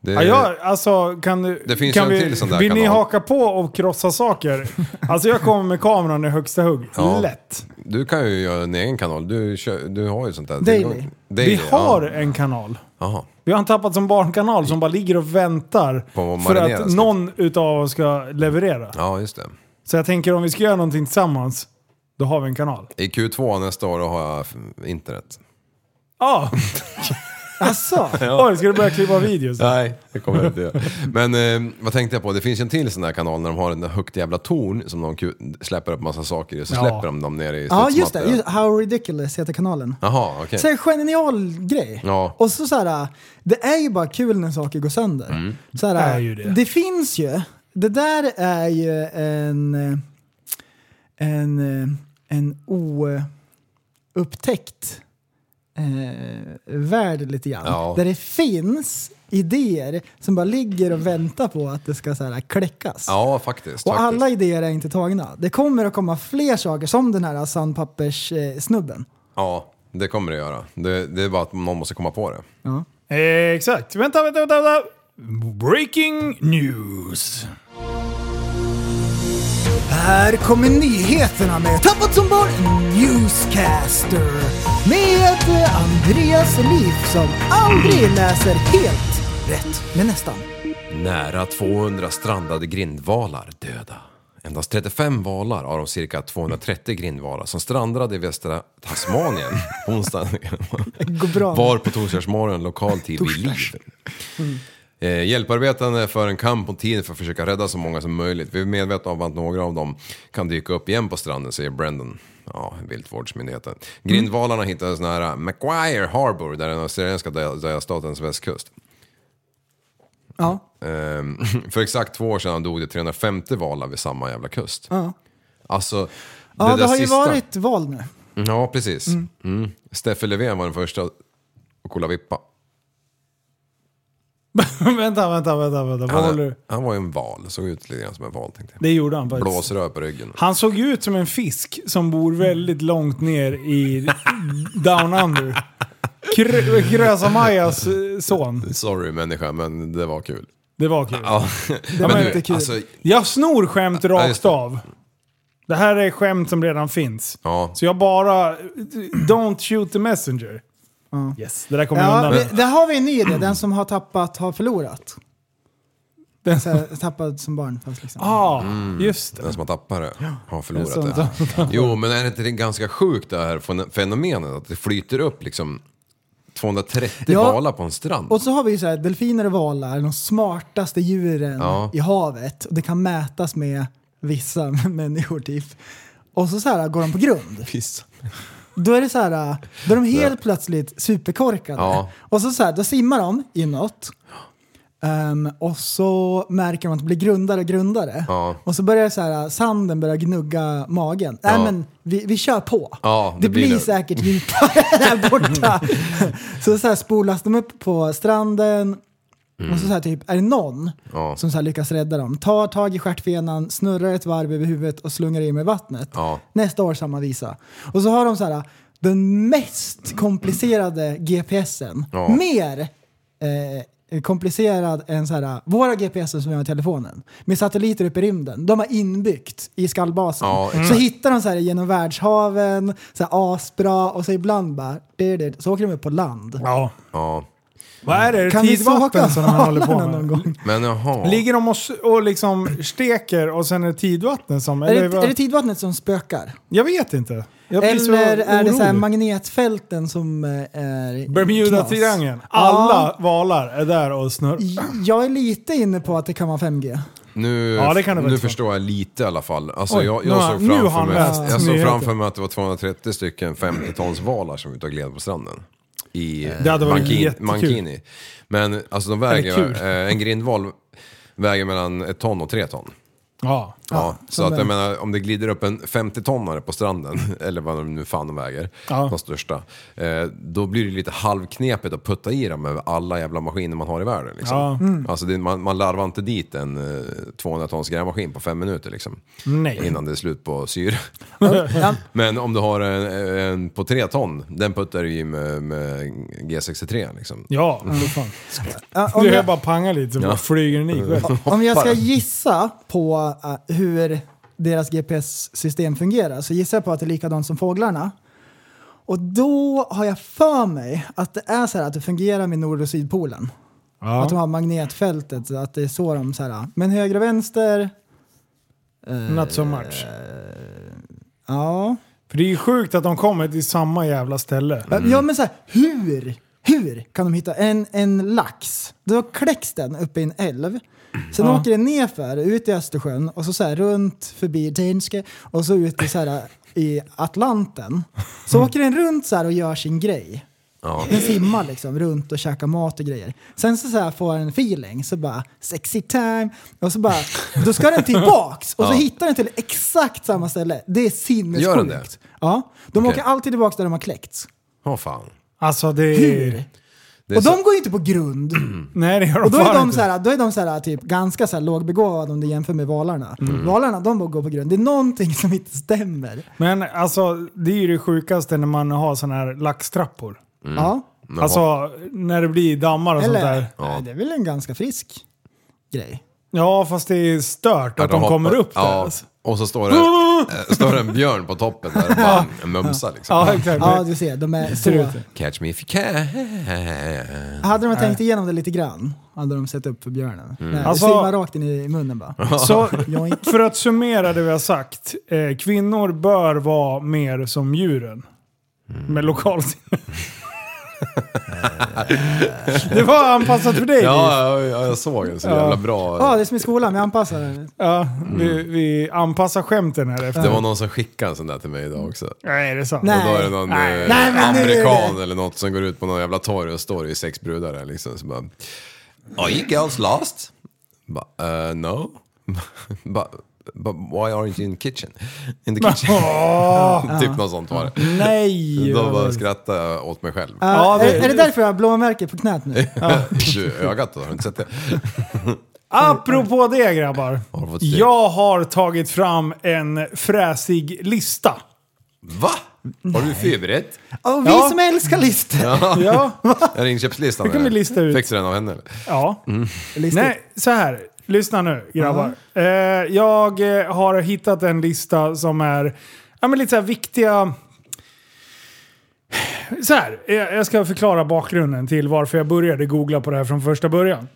F: Det,
E: Ja, jag, alltså, kan, du-
F: Det finns
E: kan
F: en
E: vi,
F: till sån där
E: Vill ni
F: kanal.
E: haka på och krossa
F: <laughs>
E: saker? Alltså jag kommer med kameran i högsta hugg.
F: Ja.
E: Lätt.
F: Du kan ju göra en egen kanal, du, kör, du har ju sånt där.
H: Daily.
F: tillgång.
E: Vi
F: Daily,
E: har
F: Ja.
E: en kanal.
F: Jaha.
E: Vi har en tappat som barnkanal som bara ligger och väntar
F: På att
E: för
F: marinera
E: att
F: sig.
E: någon utav oss ska leverera.
F: Ja, just det.
E: Så jag tänker om vi ska göra någonting tillsammans Då har vi en kanal.
F: I Q2 nästa år då har jag f- internet.
E: Ja!
H: Alltså,
E: Ah! Oj, ska du börja klippa videos?
F: Nej, det kommer jag inte göra. <laughs> Men eh, vad tänkte jag på? Det finns ju en till sån där kanal när de har den där högt jävla torn som de ku- släpper upp massa saker i och så
E: Ja.
F: släpper de dem ner i
H: ja just det.
F: studsmattan.
H: Just, How ridiculous heter kanalen.
F: Jaha, okej.
H: Så här genial grej.
F: Ja.
H: Och så så här, det är ju bara kul när saker går sönder.
F: Mm.
H: Så här,
E: Det är ju det.
H: finns ju, det där är ju en, en, en oupptäckt eh, värld lite grann.
F: Ja.
H: Där det finns idéer som bara ligger och väntar på att det ska så här kläckas.
F: Ja, faktiskt.
H: Och
F: faktiskt.
H: alla idéer är inte tagna. Det kommer att komma fler saker som den här sandpapperssnubben.
F: Ja, det kommer det göra. Det, det är bara att någon måste komma på det.
H: Ja.
E: Eh, exakt. Vänta, vänta, vänta, vänta. Breaking news.
H: Här kommer nyheterna med Tappat som barn Newscaster. Med eh, Andreas Liv som aldrig läser helt rätt, men nästan.
F: Nära 200 strandade grindvalar döda. Endast 35 valar av de cirka 230 grindvalar som strandade i västra Tasmanien onsdagen
H: Går bra.
F: var på torsdagsmorgon lokal tid vid liv. Eh, hjälparbetande för en kamp om tiden för att försöka rädda så många som möjligt. Vi är medvetna om att några av dem kan dyka upp igen på stranden, säger Brendan. Ja, viltvårdsmyndigheten. Grindvalarna hittades nära Macquarie Harbour, där den australienska delstatens västkust.
H: Ja.
F: Ehm, för exakt två år sedan dog det 350 valar vid samma jävla kust.
H: Ja.
F: Alltså,
H: Ja, det,
F: där
H: har ju
F: sista-
H: varit val nu.
F: Ja, precis. Mm. Steffe Löfven var den första att kolla vippa.
E: <laughs> vänta, vänta, vänta, vänta. Vad håller du?
F: Han, han var ju en val, såg ut lite grann som en val tänkte jag.
E: Det gjorde han faktiskt.
F: Blåsrör på ryggen.
E: Han såg ju ut som en fisk som bor väldigt långt ner i Down Under. Kr- Krösa-Majas eh, son.
F: Sorry människa, men det var kul. <laughs>
E: Det var kul.
F: Ja.
H: Det var
E: men du,
H: inte kul.
F: Alltså,
E: Jag snor skämt
F: Ja,
E: rakt
F: just det.
E: av. Det här är skämt som redan finns.
F: Ja.
E: Så jag bara... Don't shoot the messenger. Yes, det där kommer jag
H: ja,
E: undan med.
H: vi, där har vi en ny idé. Den som har tappat har förlorat. Den så här, tappad som barn. Fast liksom.
E: Ah,
F: Mm.
E: just det.
F: den som har tappat det
E: Det
F: har
E: är
F: förlorat
E: sånt
H: <laughs>
F: det. Jo, men är det inte det ganska sjukt det här fen- fenomenet? Att det flyter upp liksom 230
H: Ja.
F: valar på en strand.
H: Och så har vi ju så här, delfiner och valar, de smartaste djuren
F: Ja.
H: i havet. Och det kan mätas med vissa <laughs> människor typ. Och så, så här, går de
F: <laughs>
H: på grund.
F: Piss.
H: Då är det så här, då är de helt plötsligt superkorkade.
F: Ja.
H: Och så, så här, då simmar de inåt. Ehm, och så märker de att det blir grundare och grundare.
F: Ja.
H: Och så börjar så här, sanden börja gnugga magen. Nej
F: Ja.
H: men vi, vi kör på.
F: Ja,
H: det,
F: det blir
H: blir
F: det.
H: säkert <laughs> djupare där borta. så, så här, spolas de upp på stranden. Och så, så här, typ, är det någon
F: Ja.
H: som så här, lyckas rädda dem? Tar tag i stjärtfenan, snurrar ett varv över huvudet och slungar i med vattnet.
F: Ja.
H: Nästa år samma visa. Och så har de så här, den mest komplicerade GPSen.
F: Ja.
H: Mer eh, komplicerad än så här, våra GPSer som vi har i telefonen. Med satelliter uppe i rymden. De har inbyggt i skallbasen.
F: Ja,
H: så hittar de så här genom världshaven, så här asbra och så ibland bara... Det, det, så åker de upp på land.
E: Ja.
F: Ja.
E: Vad är det?
H: Kan vi smaka
E: Tidvatten som han håller på
H: valarna <laughs> någon
E: med?
H: gång?
F: Men jaha.
E: Ligger de och, s- och liksom steker och sen är det tidvatten som...
H: Är
E: Eller,
H: det, är det tidvattnet som spökar?
E: jag vet inte. Jag blir så
H: Eller är det så här
E: orolig.
H: magnetfälten som eh, är
E: Bermuda-triangeln.
H: knas?
E: Alla valar är där och snurrar.
H: Ja, jag är lite inne på att det kan
E: <laughs>
H: vara 5G.
F: Nu,
E: Ja, det kan det väl
F: nu
E: vara.
F: förstår jag lite i alla fall. Alltså,
E: Oj,
F: jag
E: nu
F: jag,
E: har-
F: såg,
E: nu har
F: framför
E: han
F: mig,
E: läst
F: jag såg
E: nyheter.
F: framför mig att det var 230 stycken 50-talsvalar som var ute och gled på stranden. I
E: Det hade varit
F: Mankin-
E: jättekul.
F: Mankini. Men alltså de
E: Eller
F: väger,
E: kul.
F: eh, en grindval väger mellan ett ton och tre ton.
E: Ja.
F: Ja, så
H: som
F: att jag
H: den.
F: menar, om det glider upp en 50-tonnare på stranden, <laughs> eller vad de nu fan de väger,
E: Ja.
F: de största, eh, då blir det lite halvknepigt att putta i dem med alla jävla maskiner man har i världen. Liksom.
E: Ja. Mm.
F: Alltså det, man, man larvar inte dit en eh, 200-tons grävmaskin på fem minuter liksom,
E: Nej.
F: innan det är slut på syre. <laughs>
H: Ja,
F: Men om du har en, en på tre ton, den puttar du i med, med G63. Liksom.
E: Ja, för fan.
H: ja, Mm. om,
E: Du hör
H: jag,
E: bara panga lite så bara flyger den i själv.
H: om jag ska
F: hoppar.
H: gissa på eh, hur deras GPS-system fungerar så gissar jag på att det är likadant som fåglarna. Och då har jag för mig att det är så här att det fungerar med nord och sydpolen. Att de
E: Ja.
H: har magnetfältet, så att det är så de så här, men höger och vänster,
E: Not so much.
H: ja.
E: För det är ju sjukt att de kommer till samma jävla ställe.
F: Mm.
H: Ja men så här, hur? Hur kan de hitta en, en lax? Då kläcks den uppe i en älv. Sen
E: Ja.
H: åker den nerför, ut i Östersjön och så, så här runt förbi Danske och så ut i, så här, i Atlanten. Så åker den runt så här och gör sin grej.
F: Mm. Ja.
H: Den simmar liksom runt och käkar mat och grejer. Sen så, så här får den feeling, så bara sexy time. Och så bara, då ska den tillbaks och så hittar den till exakt samma ställe. Det är sinnessjukt.
F: Gör den det?
H: Ja, de
F: Okej.
H: åker alltid tillbaks där de har kläckts.
F: Åh fan.
E: Alltså det är...
H: Hur?
F: Det är
H: och
F: så-
H: de går ju inte på grund.
E: Nej det gör de
H: Och då är
E: fan
H: de,
E: inte.
H: så här, då är de så här, typ, ganska så här, lågbegåvade om du jämför med valarna. Valarna de bara går på grund. Det är någonting som inte stämmer.
E: Men alltså det är ju det sjukaste när man har sådana här laxtrappor.
H: Ja.
F: Jaha.
E: Alltså när det blir dammar och sånt
H: Eller?
E: där.
F: Ja.
H: Nej, det är väl en ganska frisk grej.
E: Ja fast det är stört att
F: Ja,
E: de
F: hoppar-
E: kommer upp där.
F: Ja,
E: alltså.
F: och
E: <laughs>
F: så står det, eh, står det en björn på toppen där och bara mumsar liksom.
E: Ja exakt.
H: Ja, du ser. De är
E: ser
H: så.
E: ut.
F: Catch me if you can.
H: Hade de tänkt igenom det lite grann hade de sett upp för björnen. Nej, det
E: Alltså-
H: simmar rakt in i munnen bara.
E: Så <laughs>
H: Joink.
E: för att summera det vi har sagt. Eh, kvinnor bör vara mer som djuren.
F: Mm.
E: Med lokalsinne. <laughs> det var anpassat för dig. Liv.
F: Ja, ja, jag såg den så jävla bra.
H: Ja, det är som i skolan, vi anpassar den.
E: Ja, vi, vi anpassar skämten här efter.
F: Mm. Det var någon som skickade en sån där till mig idag också.
E: Nej, det är sant.
H: Nej.
F: Och då är det någon
E: Nej.
F: eh,
H: Nej, men nu är det-
F: amerikan eller något som går ut på någon jävla torg och står i sex brudar där liksom. Så bara, Are you girls lost? Ba, eh, no. <laughs> but, but why aren't you in the kitchen? In the kitchen.
H: <laughs>
F: <laughs> typ något sånt var det.
E: Nej!
F: Då bara skrattade jag åt mig själv.
H: Ja,
E: Ja, det-
H: är, är det därför jag har blåmärken på knät nu?
F: <laughs> Du, ögat då, har du inte sett det?
E: Apropå det grabbar.
F: du fått stryk?
E: Jag har tagit fram en fräsig lista.
F: Va? Har du förberett?
H: Och vi
E: Ja.
H: som älskar listor!
E: Ja.
F: Är det inköpslistan?
E: kan vi
F: eller?
E: lista ut.
F: Fick du den av henne eller?
E: ja.
H: Listor.
E: Nej, så här. Lyssna nu grabbar. Eh, jag eh, har hittat en lista som är ja, men lite så här viktiga... Så här, eh, jag ska förklara bakgrunden till varför jag började googla på det här från första början.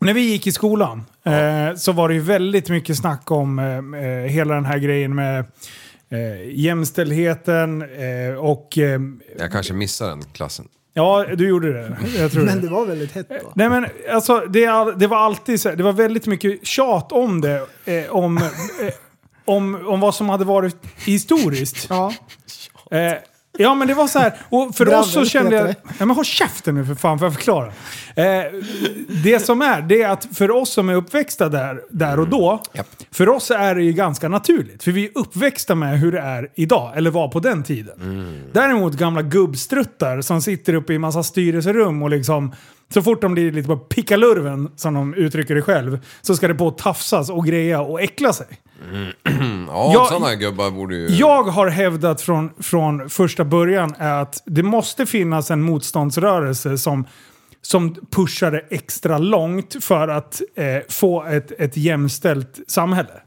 E: När vi gick i skolan eh, så var det ju väldigt mycket snack om eh, eh, hela den här grejen med eh, jämställdheten eh, och... Eh,
F: Jag kanske missar den klassen.
E: ja, du gjorde det. Jag tror
H: Men
E: det.
H: det var väldigt hett då.
E: Nej men alltså, det, är all- det var alltid så här, det var väldigt mycket tjat om det. Eh, om, eh, om, om vad som hade varit historiskt.
H: Ja.
E: Eh, ja men det var så här, och för
H: Dravel
E: oss så kände jag...
H: heter
E: Ja, men håll käften nu för fan, får jag förklara? Eh, det som är, det är att för oss som är uppväxta där, där och då, för oss är det ju ganska naturligt. För vi är uppväxta med hur det är idag, eller var på den tiden. Däremot gamla gubbstruttar som sitter uppe i massa styrelserum och liksom... Så fort de blir lite på pickalurven, som de uttrycker det själv, så ska det på och tafsas och greja och äckla sig.
F: Ja,
E: Jag-
F: sådana gubbar borde ju...
E: Jag har hävdat från, från första början är att det måste finnas en motståndsrörelse som, som pushar det extra långt för att eh, få ett, ett jämställt samhälle.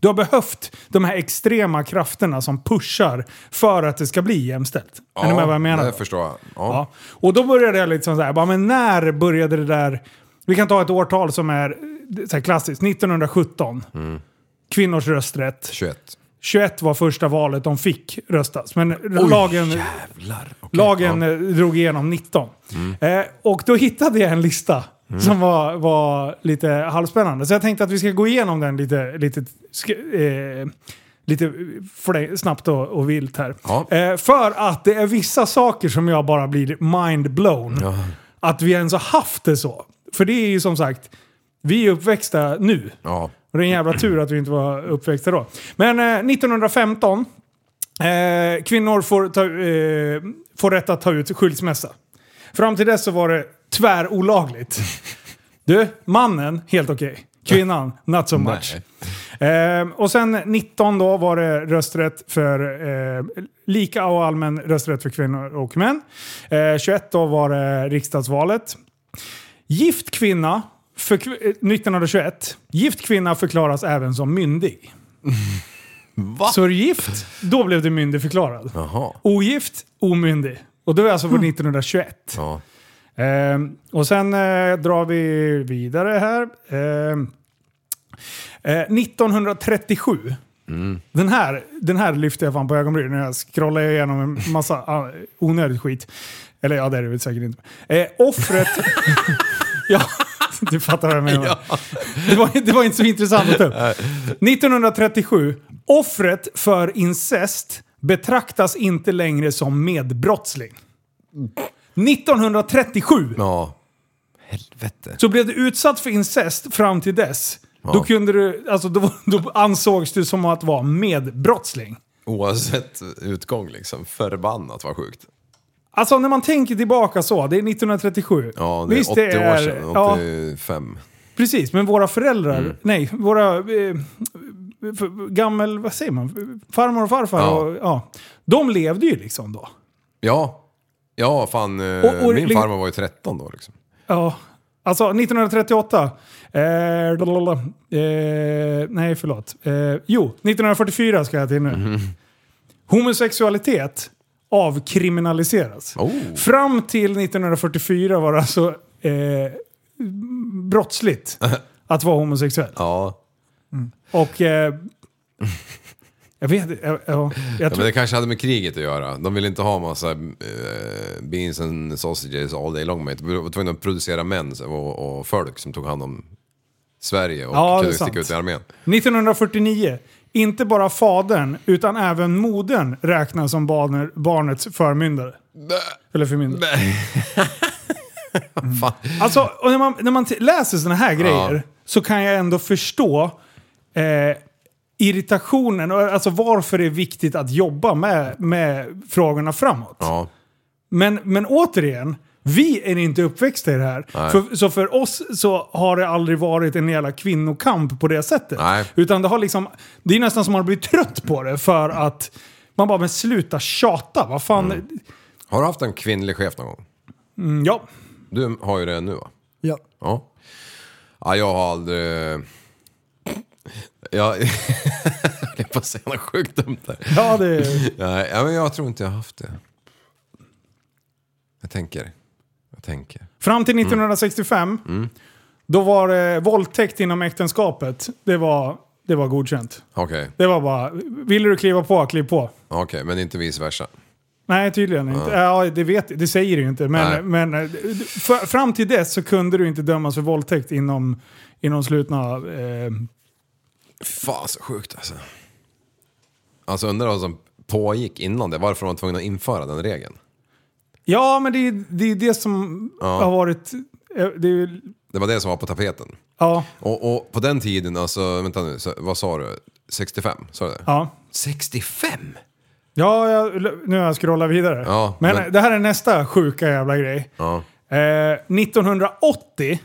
E: Du har behövt de här extrema krafterna som pushar för att det ska bli jämställt. är ni med vad jag menar?
F: det förstår jag. Ja.
E: Ja. Och då började jag liksom så här, bara, men när började det där... Vi kan ta ett årtal som är eh, så här klassiskt, 1917.
F: Mm.
E: Kvinnors rösträtt.
F: 21.
E: 21 var första valet de fick röstas. Men lagen, lagen eh, drog igenom 19. Eh, och då hittade jag en lista som var, var lite halvspännande. Så jag tänkte att vi ska gå igenom den lite, lite, sk- eh, lite fl- snabbt och, och vilt här.
F: Ja.
E: Eh, för att det är vissa saker som jag bara blir mind-blown. Att vi ens har haft det så. För det är ju som sagt, vi är uppväxta nu.
F: Ja.
E: Och det är en jävla tur att vi inte var uppväxta då. Men eh, 1915, eh, kvinnor får, ta, eh, får rätt att ta ut skilsmässa. Fram till dess så var det tvärolagligt. Du, mannen, helt okej. Kvinnan, not so much. Eh, och sen 19 då var det rösträtt för eh, lika och allmän rösträtt för kvinnor och män. Eh, 21 då var det riksdagsvalet. Gift kvinna, för, eh, 1921, gift kvinna förklaras även som myndig.
F: Va?
E: Så är du gift, då blev du myndigförklarad.
F: Jaha.
E: Ogift, omyndig. Och det var alltså på 1921.
F: Ja.
E: Ehm, och sen eh, drar vi vidare här. Ehm, eh, 1937 Den, här, den här lyfte jag fan på ögonbrynen när jag scrollade igenom en massa ah, onödigt skit. Eller ja, det är det väl säkert inte. Eh, offret... ja, <laughs> du fattar vad jag menar. Det, var, det var inte så intressant att ta upp. 1937. Offret för incest betraktas inte längre som medbrottsling. 1937!
F: Ja. Helvete.
E: Så blev du utsatt för incest fram till dess, då, kunde du, alltså, då, då ansågs du som att vara medbrottsling.
F: Oavsett utgång liksom. Förbannat vad sjukt.
E: Alltså när man tänker tillbaka så, det är 1937.
F: Ja, det är 80 år
E: ja,
F: sedan. Mm. 85.
E: precis, men våra föräldrar, nej, våra eh, för- gammel, vad säger man, farmor och farfar,
F: Ja.
E: Och, ja, de levde ju liksom då.
F: Ja. Ja, fan. eh,
E: Och- och-
F: min farmor var ju 13 då liksom.
E: Ja. Alltså 1938. Eh, lalalala. eh, nej, förlåt. Eh, jo, 1944 ska jag till nu.
F: Mhm.
E: Homosexualitet avkriminaliseras.
F: Oh.
E: Fram till 1944 var det alltså eh,
F: <laughs>
E: brottsligt att vara homosexuell.
F: Ja.
E: Och... Eh, jag vet ja, ja, jag
F: Ja,
E: tror,
F: men det kanske hade med kriget att göra. De ville inte ha massa eh, beans and sausages all day long. mate. De var tvungna att producera män som- och, och folk som tog hand om Sverige och
E: Ja, det är
F: kunde sticka
E: sant.
F: ut
E: <laughs>
F: i armén.
E: 1949. Inte bara fadern, utan även modern räknas som barner- barnets förmyndare. Eller förmyndare.
F: Fan.
E: Alltså, och när man, när man t- läser sådana här grejer så kan jag ändå förstå eh, irritationen och alltså varför det är viktigt att jobba med, med frågorna framåt.
F: Ja.
E: Men, men återigen, vi är inte uppväxta i det här. För, så för oss så har det aldrig varit en jävla kvinnokamp på det sättet.
F: Nej.
E: Utan det har liksom, det är nästan som man blir trött på det för att man bara, men sluta tjata, vad fan.
F: Har du haft en kvinnlig chef någon gång?
E: Mm, ja.
F: Du har ju det nu va?
H: Ja.
F: Ja. ja jag har aldrig... <laughs> Jag jag höll på att säga något sjukt dumt där.
E: ja det är...
F: Nej, ja, men jag tror inte jag har haft det. Jag tänker. Jag tänker.
E: Fram till 1965, då var det våldtäkt inom äktenskapet. Det var, det var godkänt.
F: Okej,
E: Det var bara, vill du kliva på, kliv på.
F: okej, men inte vice versa.
E: Nej, tydligen inte. Ja, det, vet, det säger det ju inte.
F: Nej.
E: Men, men eh, för, fram till dess så kunde du inte dömas för våldtäkt inom, inom slutna... Eh,
F: Fan så sjukt alltså. Alltså undrar vad som pågick innan det. Varför var de tvungna att införa den regeln?
E: ja, men det är det, är det som har varit... eh, Det är, ju-
F: Det var det som var på tapeten.
E: ja,
F: Och, och på den tiden, alltså vänta nu, så, vad sa du? 65? Sa du det?
E: ja.
F: 65?
E: Ja, jag, nu har jag scrollat vidare.
F: Ja,
E: men,
F: men-
E: det här är nästa sjuka jävla grej.
F: Ja.
E: Eh, 1980.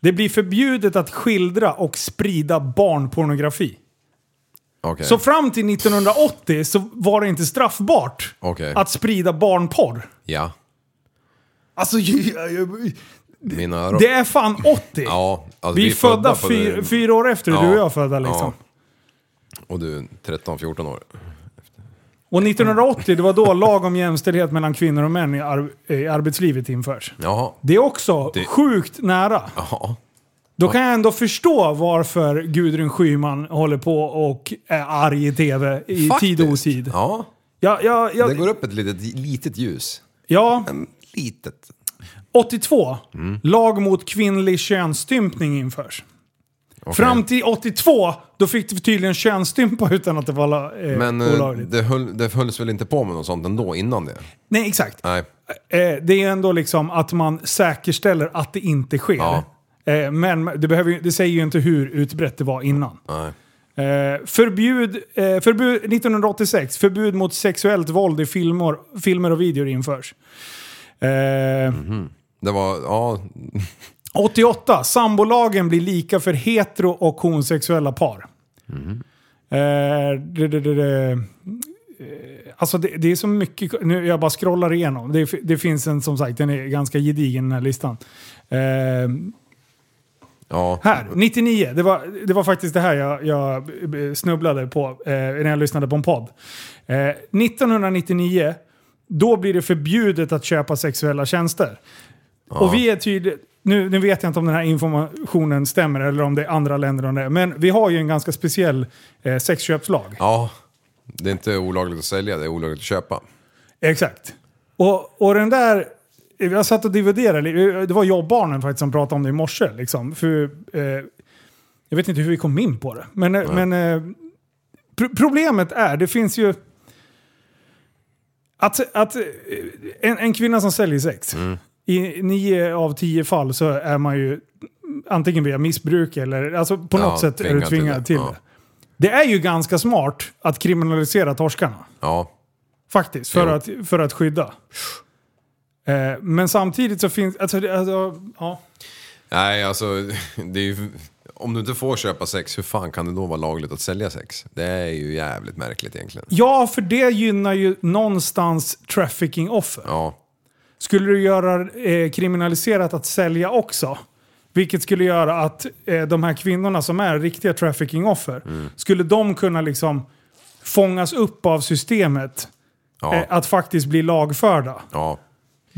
E: Det blir förbjudet att skildra och sprida barnpornografi.
F: Okej.
E: Så fram till 1980 så var det inte straffbart
F: Okej.
E: att sprida barnporr.
F: Ja.
E: Alltså, jag- jag-
F: Mina öron.
E: det är fan 80!
F: Ja, alltså,
E: vi, är födda,
F: på
E: fyr,
F: det-
E: fyra år efter
F: Ja.
E: du och jag är födda liksom.
F: Och du är 13-14 år.
E: Och 1980, det var då lag om jämställdhet mellan kvinnor och män i, ar- i arbetslivet införs.
F: Jaha.
E: Det är också
F: Det-
E: sjukt nära.
F: Ja.
E: Då kan jag ändå förstå varför Gudrun Skyman håller på och är arg i tv i
F: Faktiskt.
E: tid och otid.
F: Ja.
E: Ja, ja, ja,
F: Det går upp ett litet, litet ljus.
E: ja,
F: En Ehm, litet.
E: 82. Lag mot kvinnlig könsstympning införs. Fram till 82, då fick du tydligen könsstympa utan att det var eh,
F: Men eh,
E: olagligt.
F: det, höll, det hölls väl inte på med något sånt ändå innan det?
E: Nej, exakt.
F: Nej.
E: Eh, det är ändå liksom att man säkerställer att det inte sker.
F: Ja.
E: Eh, men det, behöver, ju- det säger ju inte hur utbrett det var innan.
F: Nej.
E: Eh, förbjud, eh, förbud, 1986, förbud mot sexuellt våld i filmer, filmer och videor införs. Eh,
F: Det var, ja,
E: 88, sambolagen blir lika för hetero och homosexuella par. Eh, det, det, det, det. eh, Alltså det, det är så mycket, nu jag bara scrollar igenom. Det, det finns en som sagt, den är ganska gedigen den här listan. Eh,
F: ja.
E: Här, 99. Det var, det var faktiskt det här jag, jag snubblade på eh, när jag lyssnade på en podd. Eh, 1999, då blir det förbjudet att köpa sexuella tjänster. Och vi är tydligt... nu, nu vet jag inte om den här informationen stämmer eller om det är andra länder om det är, men vi har ju en ganska speciell eh, sexköpslag.
F: Ja, det är inte olagligt att sälja, det är olagligt att köpa.
E: Exakt. Och, och den där... Jag satt och dividerade. li- Det var jag och barnen faktiskt som pratade om det i morse. Liksom. För, eh, jag vet inte hur vi kom in på det. Men, eh, men eh, pr- problemet är, det finns ju... Att, att eh, en, en kvinna som säljer sex,
F: Mm.
E: i nio av tio fall så är man ju antingen via missbruk eller... Alltså på
F: Ja,
E: något sätt är du
F: tvingad till
E: tvingad
F: det.
E: till det.
F: Ja.
E: Det är ju ganska smart att kriminalisera torskarna.
F: Ja,
E: Faktiskt, för,
F: Jo.
E: att, för att skydda. Eh, men samtidigt så finns... Alltså, det- alltså, ja.
F: nej alltså, <laughs> det är ju, om du inte får köpa sex, hur fan kan det då vara lagligt att sälja sex? Det är ju jävligt märkligt egentligen.
E: ja, för det gynnar ju någonstans trafficking-offer.
F: Ja,
E: Skulle du göra eh, kriminaliserat att sälja också, vilket skulle göra att eh, de här kvinnorna som är riktiga trafficking-offer,
F: Mm.
E: skulle de kunna liksom fångas upp av systemet eh,
F: ja,
E: att faktiskt bli lagförda?
F: ja.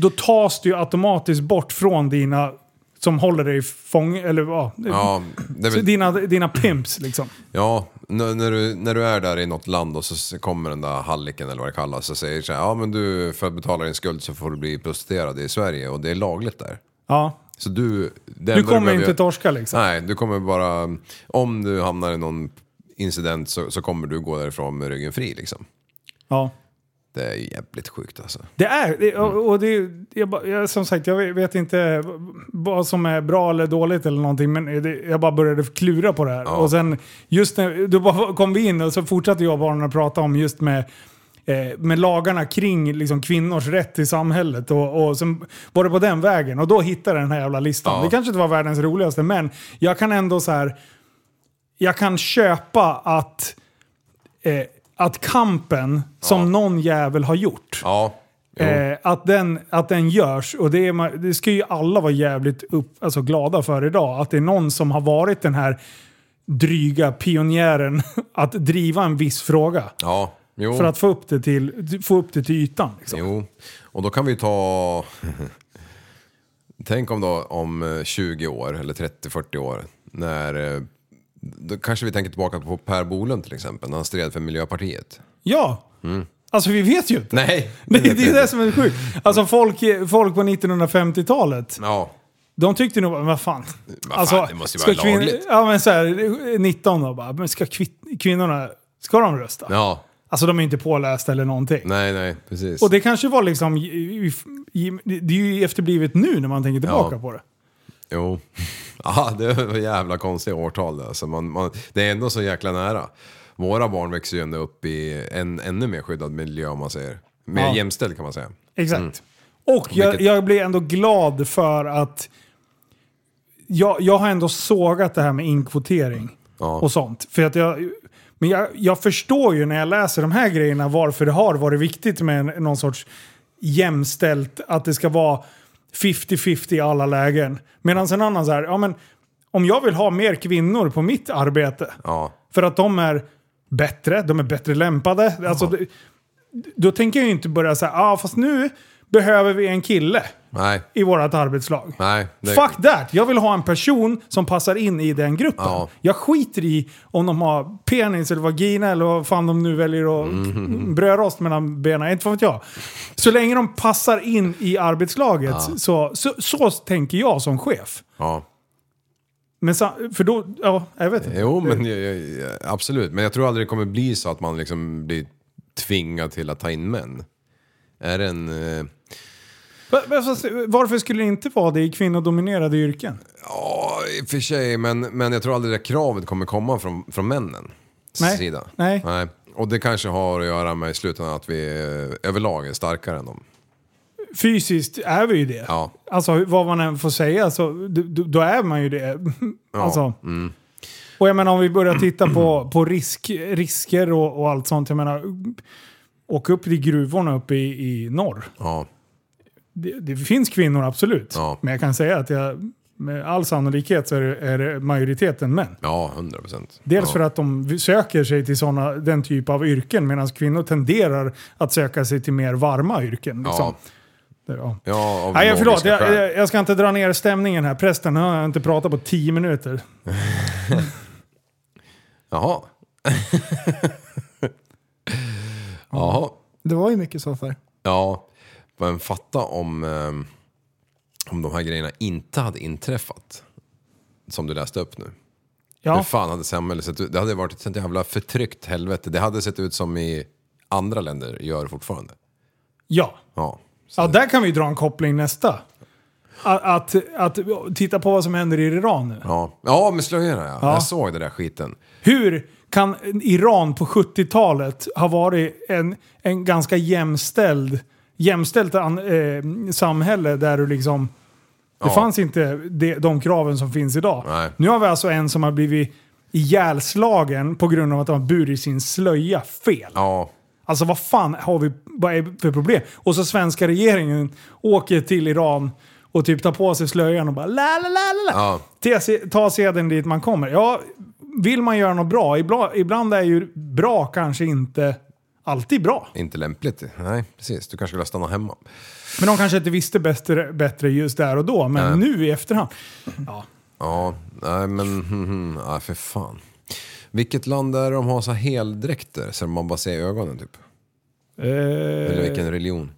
E: Då tas du ju automatiskt bort från dina som håller dig fång... Eller ja,
F: ja, det är
E: Så
F: väl-
E: dina, dina pimps liksom.
F: Ja, n- när du, när du är där i något land och så s- kommer den där halliken eller vad det kallas och säger så här, ja men du, för att betala din skuld så får du bli prostituerad i Sverige och det är lagligt där.
E: Ja.
F: Så du...
E: Du
F: det enda
E: kommer
F: behöver
E: inte
F: göra-
E: torska liksom.
F: Nej, du kommer bara... Om du hamnar i någon incident så, så kommer du gå därifrån med ryggen fri liksom.
E: Ja.
F: Det är ju jävligt sjukt alltså.
E: Det är, det, och och det, jag, bara- jag, som sagt jag vet inte vad som är bra eller dåligt eller någonting men det, jag bara började klura på det här. Och sen just när, då bara <laughs> kom vi in och så fortsatte jag och barnen att prata om just med eh, med lagarna kring liksom, kvinnors rätt i samhället. Och, och sen var det på den vägen. Och då hittade jag den här jävla listan.
F: Ja.
E: Det kanske inte var världens roligaste, men jag kan ändå så här... Jag kan köpa att, eh, att kampen som någon jävel har gjort,
F: Ja, jo,
E: eh, att, den, att den görs. Och det, är, ma- det ska ju alla vara jävligt upp, alltså, glada för idag. Att det är någon som har varit den här dryga pionjären <laughs> att driva en viss fråga.
F: ja, jo.
E: För att få upp det till, få upp det till ytan. Liksom.
F: Jo, och då kan vi ta... <laughs> Tänk om då om eh, 20 år eller 30-40 år när... eh, Då kanske vi tänker tillbaka på Per Bolund till exempel när han stred för Miljöpartiet.
E: Ja!
F: Mm.
E: Alltså vi vet ju
F: <laughs>
E: inte.
F: Nej!
E: Det, det är det som är sjukt. Alltså folk, folk på 1950-talet,
F: Ja,
E: de tyckte nog bara, vad fan. Alltså,
F: fan, det måste ju
E: ska
F: vara
E: kvin-
F: lagligt.
E: Ja men såhär, 19 då bara, men ska kvin- kvinnorna, ska de rösta?
F: ja.
E: Alltså de är inte pålästa eller någonting.
F: Nej, nej, precis.
E: Och det kanske var liksom, i- i- i- det är ju efterblivet nu när man tänker tillbaka
F: Ja.
E: på det.
F: Jo. <laughs> Ja, det var jävla konstiga årtal det. Alltså man, man, det är ändå så jäkla nära. Våra barn växer ju ändå upp i en ännu mer skyddad miljö om man säger. Mer
E: Ja.
F: jämställd kan man säga.
E: Exakt. Och jag,
F: Mm. Vilket-
E: jag blir ändå glad för att jag, jag har ändå sågat det här med inkvotering
F: Ja.
E: och sånt. För att jag, men jag, jag förstår ju när jag läser de här grejerna varför det har varit viktigt med en, någon sorts jämställt, att det ska vara 50-50 i alla lägen. Medan en annan så här, ja men om jag vill ha mer kvinnor på mitt arbete,
F: Ja.
E: för att de är bättre, de är bättre lämpade. Alltså, det, då tänker jag ju inte börja säga, ah, fast nu behöver vi en kille
F: Nej,
E: i vårt arbetslag.
F: nej. det-
E: Fuck that! Jag vill ha en person som passar in i den gruppen.
F: Ja.
E: Jag skiter i om de har penis eller vagina eller vad fan de nu väljer att
F: Mhm.
E: brödrost mellan benen. Inte fan vet jag. Så länge de passar in i arbetslaget så, så, så tänker jag som chef.
F: Ja.
E: Men sa, för då, ja, jag vet inte.
F: Jo, men jag, jag, jag- absolut. Men jag tror aldrig det kommer bli så att man liksom blir tvingad till att ta in män. Är det en... eh,
E: Va- va- fast, Varför skulle det inte vara det i kvinnodominerade yrken?
F: Ja, i och för sig, men, men jag tror aldrig det kravet kommer komma från, från männen.
E: Nej,
F: Sida.
E: nej.
F: Och det kanske har att göra med i slutändan att vi eh, överlag är starkare än dem.
E: Fysiskt är vi ju det.
F: Ja.
E: Alltså vad man än får säga så d- d- då är man ju det. Alltså.
F: Mm.
E: Och jag menar om vi börjar titta på, på risk, risker och, och allt sånt. Jag menar, åk upp till gruvorna uppe i, i norr.
F: Ja.
E: Det, det finns kvinnor absolut.
F: Ja.
E: Men jag kan säga att jag, med all sannolikhet så är, det- är det majoriteten män.
F: Ja, 100 procent.
E: Dels
F: ja.
E: för att de söker sig till såna, den typ av yrken medan kvinnor tenderar att söka sig till mer varma yrken. Liksom.
F: Ja.
E: katter. Ja.
F: Ja, av
E: Nej, jag, förlåt.
F: logiska
E: Jag,
F: skäl.
E: jag- jag ska inte dra ner stämningen här. Prästen han har inte pratat på tio minuter.
F: Jaha. <laughs> Jaha.
H: Det var ju mycket så för.
F: Ja, men fatta om, ehm, om de här grejerna inte hade inträffat. Som du läste upp nu. Hur
E: Ja,
F: fan hade samhället sett ut? Det hade varit ett sånt jävla förtryckt helvete. Det hade sett ut som i andra länder gör fortfarande.
E: ja.
F: Ja.
E: ja, där kan vi dra en koppling nästa. Att, att, att titta på vad som händer i Iran nu.
F: Ja, ja med slöjorna ja.
E: Ja.
F: Jag såg den där skiten.
E: Hur kan Iran på 70-talet ha varit en, en ganska jämställd, jämställt an, eh, samhälle där du liksom... Det
F: Ja.
E: fanns inte de, de kraven som finns idag.
F: Nej.
E: Nu har vi alltså en som har blivit ihjälslagen på grund av att han har burit sin slöja fel.
F: Ja,
E: Alltså vad fan har vi vad är det för problem? Och så svenska regeringen åker till Iran och typ tar på sig slöjan och bara la la la la, la.
F: Ja.
E: Te se- Ta seden dit man kommer. Ja, vill man göra något bra, ibland, ibland är ju bra kanske inte alltid bra.
F: inte lämpligt. Nej, precis. Du kanske skulle stanna hemma.
E: Men de kanske inte visste bättre, bättre just där och då, men nu i efterhand. Eh, Ja.
F: Ja, nej men, hmm, hmm, nej för fan. Vilket land är det de har så här heldräkter så man bara ser ögonen typ? Eller
E: Eh,
F: vilken religion?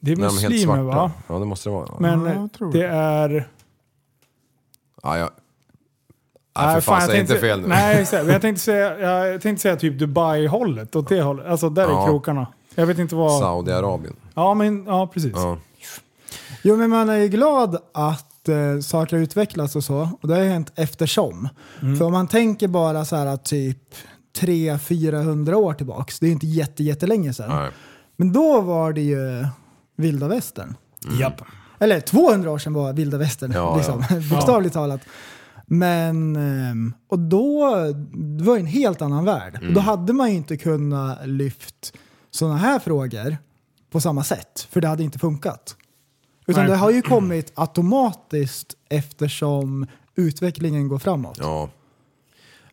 E: det är
F: När de är helt
E: muslimer
F: svarta?
E: va?
F: Ja, det måste det vara. Men,
E: Men
H: Ja,
E: eh,
H: jag tror
E: det är...
F: ja, jag... Nej, för fan,
E: jag
F: säg inte
E: tänkte-
F: fel nu.
E: Nej, exakt. Men jag tänkte säga, jag tänkte säga typ Dubai-hållet, åt det hållet. Alltså där
F: Ja.
E: är krokarna. Jag vet inte vad...
F: Saudiarabien.
E: Ja, men ja, precis.
F: Ja.
H: Jo, men man är ju glad att eh, saker har utvecklats och så. Och det har ju hänt eftersom. För om man tänker bara så här typ 300-400 år tillbaks. Det är ju inte jätte, jättelänge sedan.
F: Nej.
H: Men då var det ju vilda västern.
E: Japp.
H: Eller 200 år sedan var vilda västern,
F: Mm. Ja,
H: liksom, <laughs> bokstavligt talat. Men, ehm, och då det var ju en helt annan värld. Och
F: Mm.
H: då hade man ju inte kunnat lyft sådana här frågor på samma sätt, för det hade inte funkat. Utan
E: Nej.
H: det har ju kommit automatiskt eftersom utvecklingen går framåt.
F: Ja.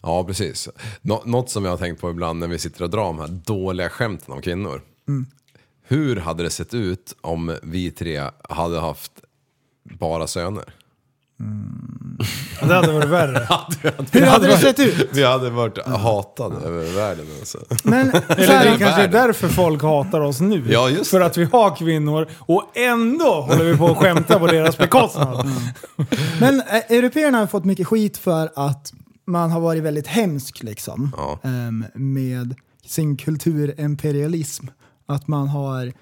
F: Ja, precis. Nå- något som jag har tänkt på ibland när vi sitter och drar de här dåliga skämten om kvinnor.
H: Mm.
F: Hur hade det sett ut om vi tre hade haft bara söner?
E: Det hade varit värre.
H: Hur hade det sett ut?
F: <laughs> Vi hade varit hatade över världen alltså.
H: Men, så
E: Eller det
H: här,
E: kanske är därför folk hatar oss nu.
F: Ja, just
E: För att vi har kvinnor och ändå håller vi på att skämta på deras bekostnad.
F: Mm.
H: men eh, européerna har fått mycket skit för att man har varit väldigt hemsk liksom.
F: Ja.
H: ehm, med sin kulturimperialism. Att man har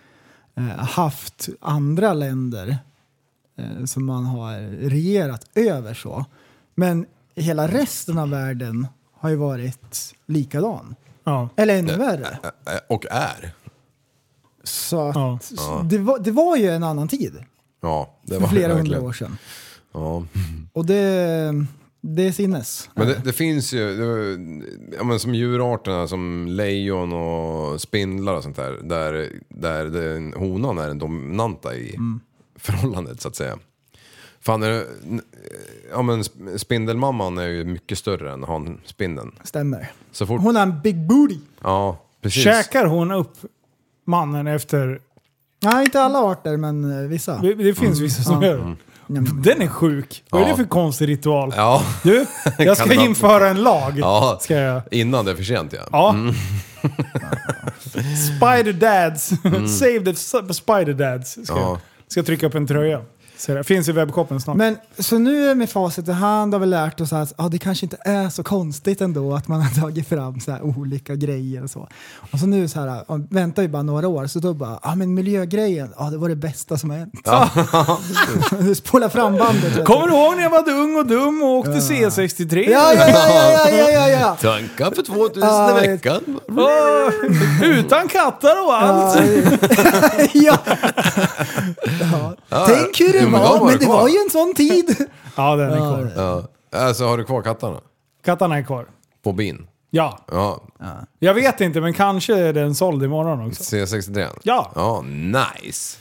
H: eh, haft andra länder eh, som man har regerat över så. Men hela resten av världen har ju varit likadan.
E: Ja.
H: Eller ännu värre.
F: Eh, Och är.
H: Så att,
E: Ja.
H: så Det, var, det var ju en annan tid
F: Ja, det
H: för
F: var
H: flera
F: det
H: hundra
F: verkligen.
H: år sedan.
F: Ja.
H: Och det, det är sinnes.
F: Men det, det finns ju, det, ja, men som djurarterna som lejon och spindlar och sånt där. Där, där den, honan är den dominanta i
E: Mm.
F: förhållandet så att säga. Fan, är det, ja, men sp- spindelmamman är ju mycket större än hanspindeln.
H: Stämmer.
F: Så fort...
H: Hon har en big booty.
F: Ja, precis.
E: Käkar hon upp mannen efter...
H: Nej, inte alla arter, men eh, vissa.
E: Det det finns vissa som
H: Ja.
E: gör det. Den är sjuk. Vad är det
F: Mm. Ja.
E: för konstig ritual?
F: Ja, <laughs>
E: Du, jag
F: Kan
E: ska
F: man-
E: införa en lag.
F: ja. Mm.
E: Ska jag...
F: innan det är för sent ja.
E: Ja. <laughs> Spider Dads. <laughs> Save the s- Spider Dads. Ska,
F: Mm. Ja.
E: jag, ska jag trycka upp en tröja. Så det finns i webbshoppen snart.
H: Men så nu med facit i hand har vi lärt oss att ah, det kanske inte är så konstigt ändå att man har <laughs> tagit fram så här olika grejer och så. Och så nu så här, ah, väntar vi bara några år så då bara, ah, men miljögrejen, ah, det var det bästa som hänt. <laughs> du spolar fram bandet. vet du.
E: Kommer du ihåg när jag var ung och dum och åkte C63?
H: Ja, ja, ja, ja, ja, ja, <laughs> ja.
G: Tankar för 2000
H: Ja,
G: i
H: jag-
G: veckan.
E: Åh, <laughs> utan katter och allt.
H: ja. ja. Tänk hur det
F: Jo, men de
H: var,
F: var
H: men det
F: kvar.
H: var ju en sån <laughs> tid.
E: Ja, den är kvar.
F: Ja. Alltså har du kvar kattarna?
E: Katterna är kvar.
F: På bin?
E: Ja,
F: Ja.
E: jag vet inte men kanske är den såld imorgon också.
F: C63?
E: Ja.
F: Ja, nice.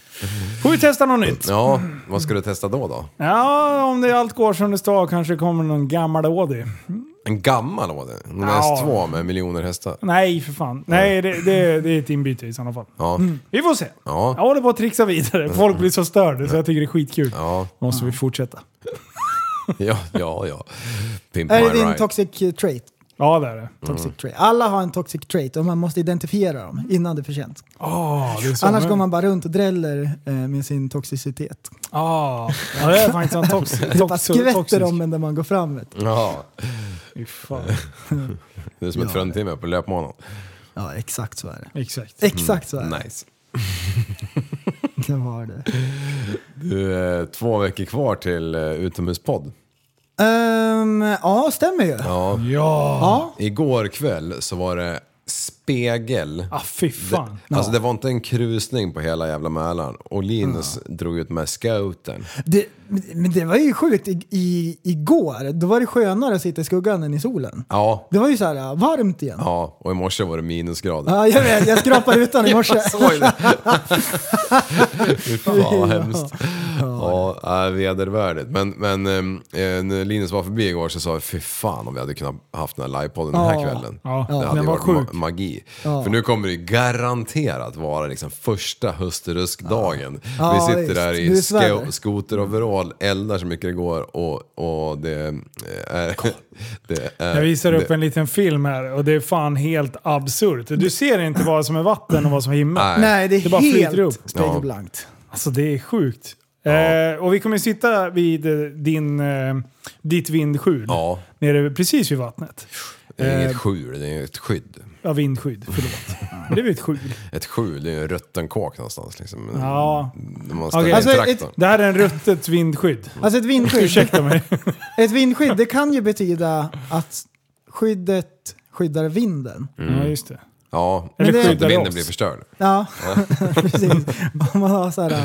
E: Får vi testa något nytt?
F: Ja, vad ska du testa då då?
E: Ja, om det allt går som det ska kanske kommer någon gammal Audi.
F: En En gammal var det. En
E: Ja.
F: S2 med miljoner hästar.
E: Nej, för fan. Nej, det, det, det är ett inbyte i sådana fall.
F: Ja.
E: Vi får se.
F: Ja.
E: Jag håller på att trixa vidare. Folk blir så störda så jag tycker det är skitkul.
F: Ja,
E: Måste vi fortsätta?
F: ja, ja. ja. Pimp
H: Är
F: my
H: Äh, det din
F: ride.
H: toxic trait?
E: Ja, det är det.
H: Toxic trait. Alla har en toxic trait och man måste identifiera dem innan det är för sent.
E: Ah, det är så.
H: Annars går man bara runt och dräller eh, med sin toxicitet.
E: Ah, ja, det är faktiskt en tox,
H: Det bara
E: tox, toxisk.
H: skvätter om en när man går fram. Vet. du.
F: Ja,
E: Fy fan.
F: det är som ett fruntimmer på löpbanan.
H: Ja, exakt så är det. Mm,
E: Exakt.
H: Exakt så är det.
F: Nice.
H: <laughs> det. Var det.
F: Du, eh, två veckor kvar till eh, utomhuspodd.
H: Ehm, ja, stämmer ju.
F: Ja.
E: Ja.
H: Ja.
F: Igår kväll så var det spegel.
E: Ah, fy fan.
F: Alltså det var inte en krusning på hela jävla Mälaren. Och Linus drog ut med scouten.
H: Det, men det var ju sjukt. I, i, igår, då var det skönare att sitta i skuggan än i solen.
F: Ja,
H: Det var ju så här äh, varmt igen. Ja.
F: ja. och i morse var det minusgrader.
H: jag vet. <laughs> Jag skrapade utan i morse.
F: Såg det? Fy fan vad hemskt. Ja, ja äh, vedervärdigt. Men, men eh, när Linus var förbi igår så sa jag, fy fan om vi hade kunnat haft den här livepodden den här
H: Ja.
F: kvällen.
E: Ja,
F: Det hade
E: den
F: ju
E: var
F: varit ma-
E: sjuk.
F: magi.
H: Ja.
F: För nu kommer det ju garanterat vara liksom första höstruskdagen.
H: Ja,
F: Vi sitter
H: visst.
F: där
H: Det
F: i
H: är sväder.
F: sko- skoteroverall, eldar så mycket det går och, och det, eh, är, <laughs> det är...
E: Jag visar upp
F: det-
E: en liten film här och det är fan helt absurt. Du ser inte vad som är vatten och vad som är himmel.
F: Nej.
H: Nej, det är
E: Det bara flyter
H: helt
E: upp.
H: spegelblankt.
E: Alltså det är sjukt. Eh, och vi kommer sitta vid eh, din, eh, ditt vindskjul.
F: Ja,
E: Nere precis vid vattnet.
F: det är
E: Eh.
F: inget skjul, det är ett skydd.
E: Ja, vindskydd. Förlåt. det är väl ett skjul?
F: Ett skjul, det är ju en rutten kåk någonstans liksom.
E: Ja.
F: När man ställer
E: Okej.
F: in
E: Alltså,
F: traktorn. Mm.
E: Det här är en ruttet vindskydd.
H: Alltså ett vindskydd,
E: Ursäkta mig.
H: ett vindskydd det kan ju betyda att skyddet skyddar vinden.
E: Ja, just det.
F: Ja,
E: Eller
F: så
E: skyddar
F: inte vinden
E: oss.
F: blir förstörd.
H: Ja, <laughs> precis. Om man har så här, äh,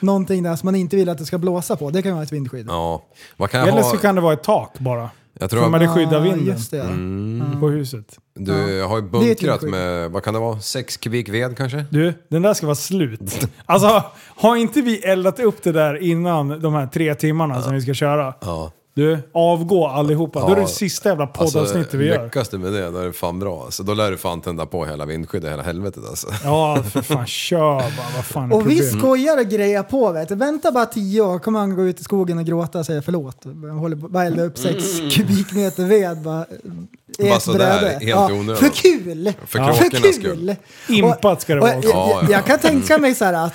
H: någonting där som man inte vill att det ska blåsa på, det kan vara ett vindskydd.
F: Ja. Vad kan jag
E: Eller
F: ha?
E: så kan det vara ett tak bara.
F: Jag
E: För
F: tror
E: man
F: att
E: det skyddar vinden
H: Ah, Just det, ja.
F: Mm.
E: på huset.
F: du har ju
H: är ett
F: bunkrat
H: skydd.
F: med, vad kan det vara, sex kubik ved kanske?
E: Du, den där ska vara slut. Alltså, har inte vi eldat upp det där innan de här tre timmarna som vi ska köra?
F: Ja.
E: Du, avgå allihopa. Då är det
F: Ja. Alltså,
E: det sista jävla poddavsnittet vi gör.
F: lyckas du med det, då är det fan bra. Alltså, då lär du fan tända på hela vindskyddet, hela helvetet alltså.
E: Ja, för fan. Kör bara. Vad fan är
H: <laughs> Och vi
E: problemet?
H: skojar och grejar på vet du. Vänta bara tio år kommer han gå ut i skogen och gråta och säga förlåt. Jag håller på bara elda upp sex kubikmeter ved bara. i
F: Mm. Bara
H: ett
F: sådär,
H: bräde.
F: helt onödan.
H: För kul!
F: För kråkornas skull.
E: Impat ska det
H: Och-
E: vara
H: och
E: också.
H: Jag,
F: Ja, ja.
H: jag, jag kan tänka mig så
E: <laughs>
H: här att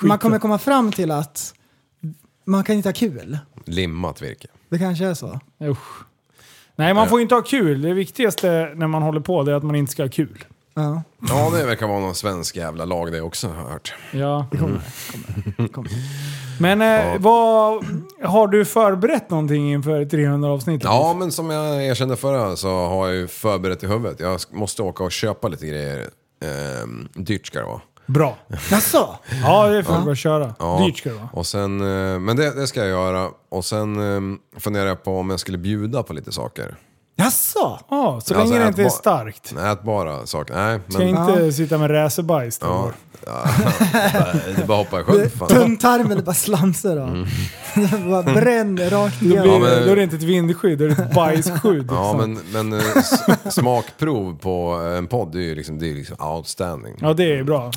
H: man kommer komma fram till att man kan inte ha kul.
F: Limmat virke.
H: Det kanske är så.
E: Usch. Nej, man får ju inte ha kul. Det viktigaste när man håller på det är att man inte ska ha kul.
H: Ja.
F: Ja, det verkar vara någon svensk jävla lag det också har jag hört.
E: Ja. Men eh, vad, har du förberett någonting inför 300 avsnittet?
F: Ja, men som jag erkände förra så har jag ju förberett i huvudet. Jag måste åka och köpa lite grejer. Ehm, dyrt ska det vara.
E: Bra.
H: Jaså?
E: Ja, det får du bara köra. Dyrt ska det vara.
F: Och sen, eh, men det, det ska jag göra. Och sen eh, funderar jag på om jag skulle bjuda på lite saker.
H: Jaså?
E: Ja, så
F: Alltså,
E: länge det inte är
F: ätbar-
E: starkt.
F: Ätbara saker. Nej,
E: Ska
F: men...
E: inte sitta med räsebajs då.
F: Ja, ja, det bara hoppar i sjön för fan.
H: Tunntarmen det bara slamsar av. Det <laughs> bara bränner rakt
E: Då,
H: igenom.
E: blir,
F: Ja,
E: då är
F: men-
E: Mm. det inte ett vindskydd, då är det ett bajsskydd.
F: Ja,
E: liksom.
F: men, men eh, s- smakprov på en podd, det är ju liksom, det är ju liksom outstanding.
E: ja, det är bra.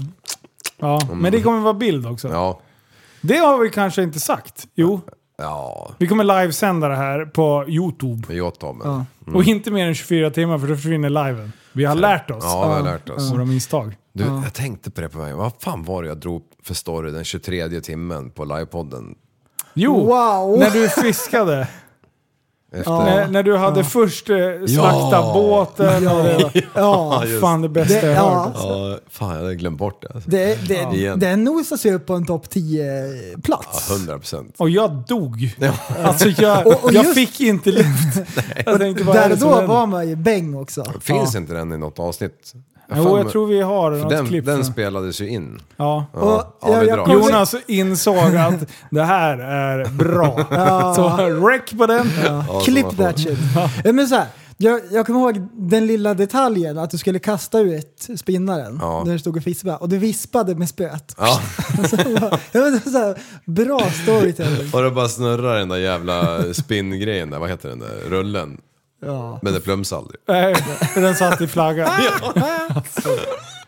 E: Ja, men det kommer vara bild också.
F: Ja,
E: Det har vi kanske inte sagt. Jo,
F: ja,
E: vi kommer livesända det här på Youtube.
F: med Jotomen.
H: Ja.
F: Ja,
E: Och inte mer än 24 timmar för då försvinner liven. Vi har lärt oss
F: vi har lärt oss.
E: våra misstag.
F: Du, jag tänkte på det på vägen. Vad fan var det jag drog för story den 23 timmen på livepodden?
E: Jo, <laughs>
H: Wow!
E: när du fiskade.
F: Efter...
E: När, när du hade först eh, slaktat båten. Och det var,
H: Ja.
E: fan det bästa
H: Det-
E: jag
H: ja.
E: hört.
F: Ja, fan, jag hade glömt bort det. Alltså.
H: Det, det,
F: Igen.
H: Den nosas ju upp på en topp 10-plats.
F: 100 procent.
E: Och jag dog. Alltså jag,
H: <laughs> Och- och
E: jag
H: just-
E: fick inte
F: <laughs>
E: luft. Jag tänkte, vad är
H: Där
E: det
H: och
E: som
H: då
E: händer?
H: var man ju bäng också.
F: Finns inte den i något avsnitt?
E: Jo, jag tror vi har något
F: den,
E: klipp.
F: den
E: från-
F: spelades ju in.
E: ja.
H: Och
F: Ja, vi
H: jag, jag
F: drar.
H: kommer-
E: Jonas insåg att det här är
H: <laughs>
E: bra. Så rec på den.
H: Ja, Clip that shit. Ja, Men så här, jag, jag kommer ihåg den lilla detaljen att du skulle kasta ut spinnaren
F: Ja.
H: när du stod och fispade och du vispade med spöet. <laughs>
F: Ja,
H: Så det var- det var så här, bra storytelling.
F: och det bara snurrar den där jävla spinngrejen där, vad heter den där rullen?
H: Ja.
F: Men det plöms aldrig.
E: Nej, för den satt i flaggan. <laughs>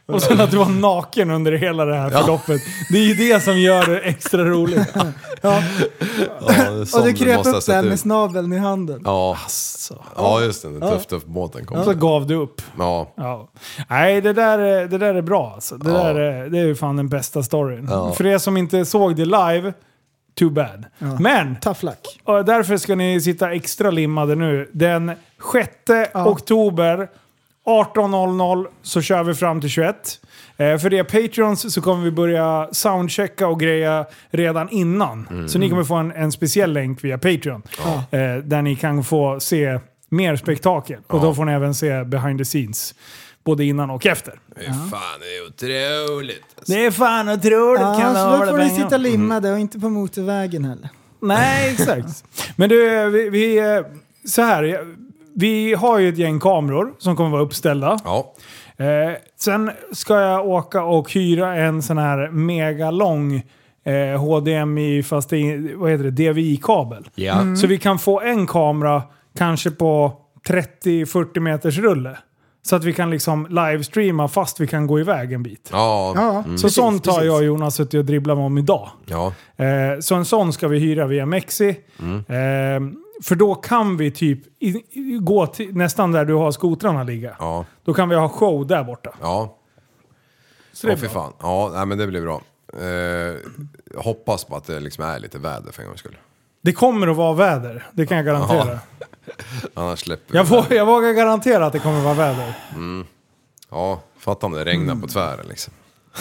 E: Och sen att du var naken under hela det här förloppet. Det är ju det som gör det extra roligt.
H: Ja.
F: Ja,
H: Och du
F: som
H: kröp
F: måste ha
H: upp där
F: sett ut.
H: med snabeln i handen.
F: Ja. ja, just det. Den tuff-tuff-båten kom.
E: Så gav du upp.
F: Ja.
E: Ja. Nej, det där, är- det där är bra alltså. Det,
F: Ja.
E: där är, det är ju fan den bästa storyn.
F: Ja.
E: För er som inte såg det live, too bad. Men,
H: Tough luck.
E: och därför ska ni sitta extra limmade nu. Den 6 oktober 18.00 så kör vi fram till 21. Eh, för er Patreons så kommer vi börja soundchecka och greja redan innan. Så ni kommer få en, en speciell länk via Patreon. Eh, där ni kan få se mer spektakel. Och då får ni även se behind the scenes. Både innan och efter.
G: Fy fan, det är otroligt.
E: Det är fan otroligt
H: Ja, så då får ni sitta
F: Mm.
H: limmade och inte på motorvägen heller.
E: Nej, exakt. Men du, vi, vi, eh, så här. Vi har ju ett gäng kameror som kommer vara uppställda.
F: Ja.
E: Eh, sen ska jag åka och hyra en sån här megalång eh, HDMI, fast det, är- vad heter det, DVI-kabel.
G: Ja.
E: Så vi kan få en kamera kanske på 30-40 meters rulle. Så att vi kan liksom livestreama fast vi kan gå iväg en bit.
F: Ja.
H: Ja,
E: Så sånt har jag och Jonas suttit och dribblat med om idag.
F: ja.
E: Eh, så en sån ska vi hyra via Mexi.
F: Mm.
E: Eh, för då kan vi typ i, i, gå till, nästan där du har skotrarna ligga.
F: Ja.
E: Då kan vi ha show där borta.
F: Ja. Åh fy fan. Ja, nej, men det blir bra. Eh, hoppas på att det liksom är lite väder för en gångs skull.
E: Det kommer att vara väder, det kan jag garantera.
F: Annars släpper vi
E: Jag, vå-
F: det.
E: jag vågar garantera att det kommer att vara väder.
F: Ja, fatta om det regnar på tvären liksom.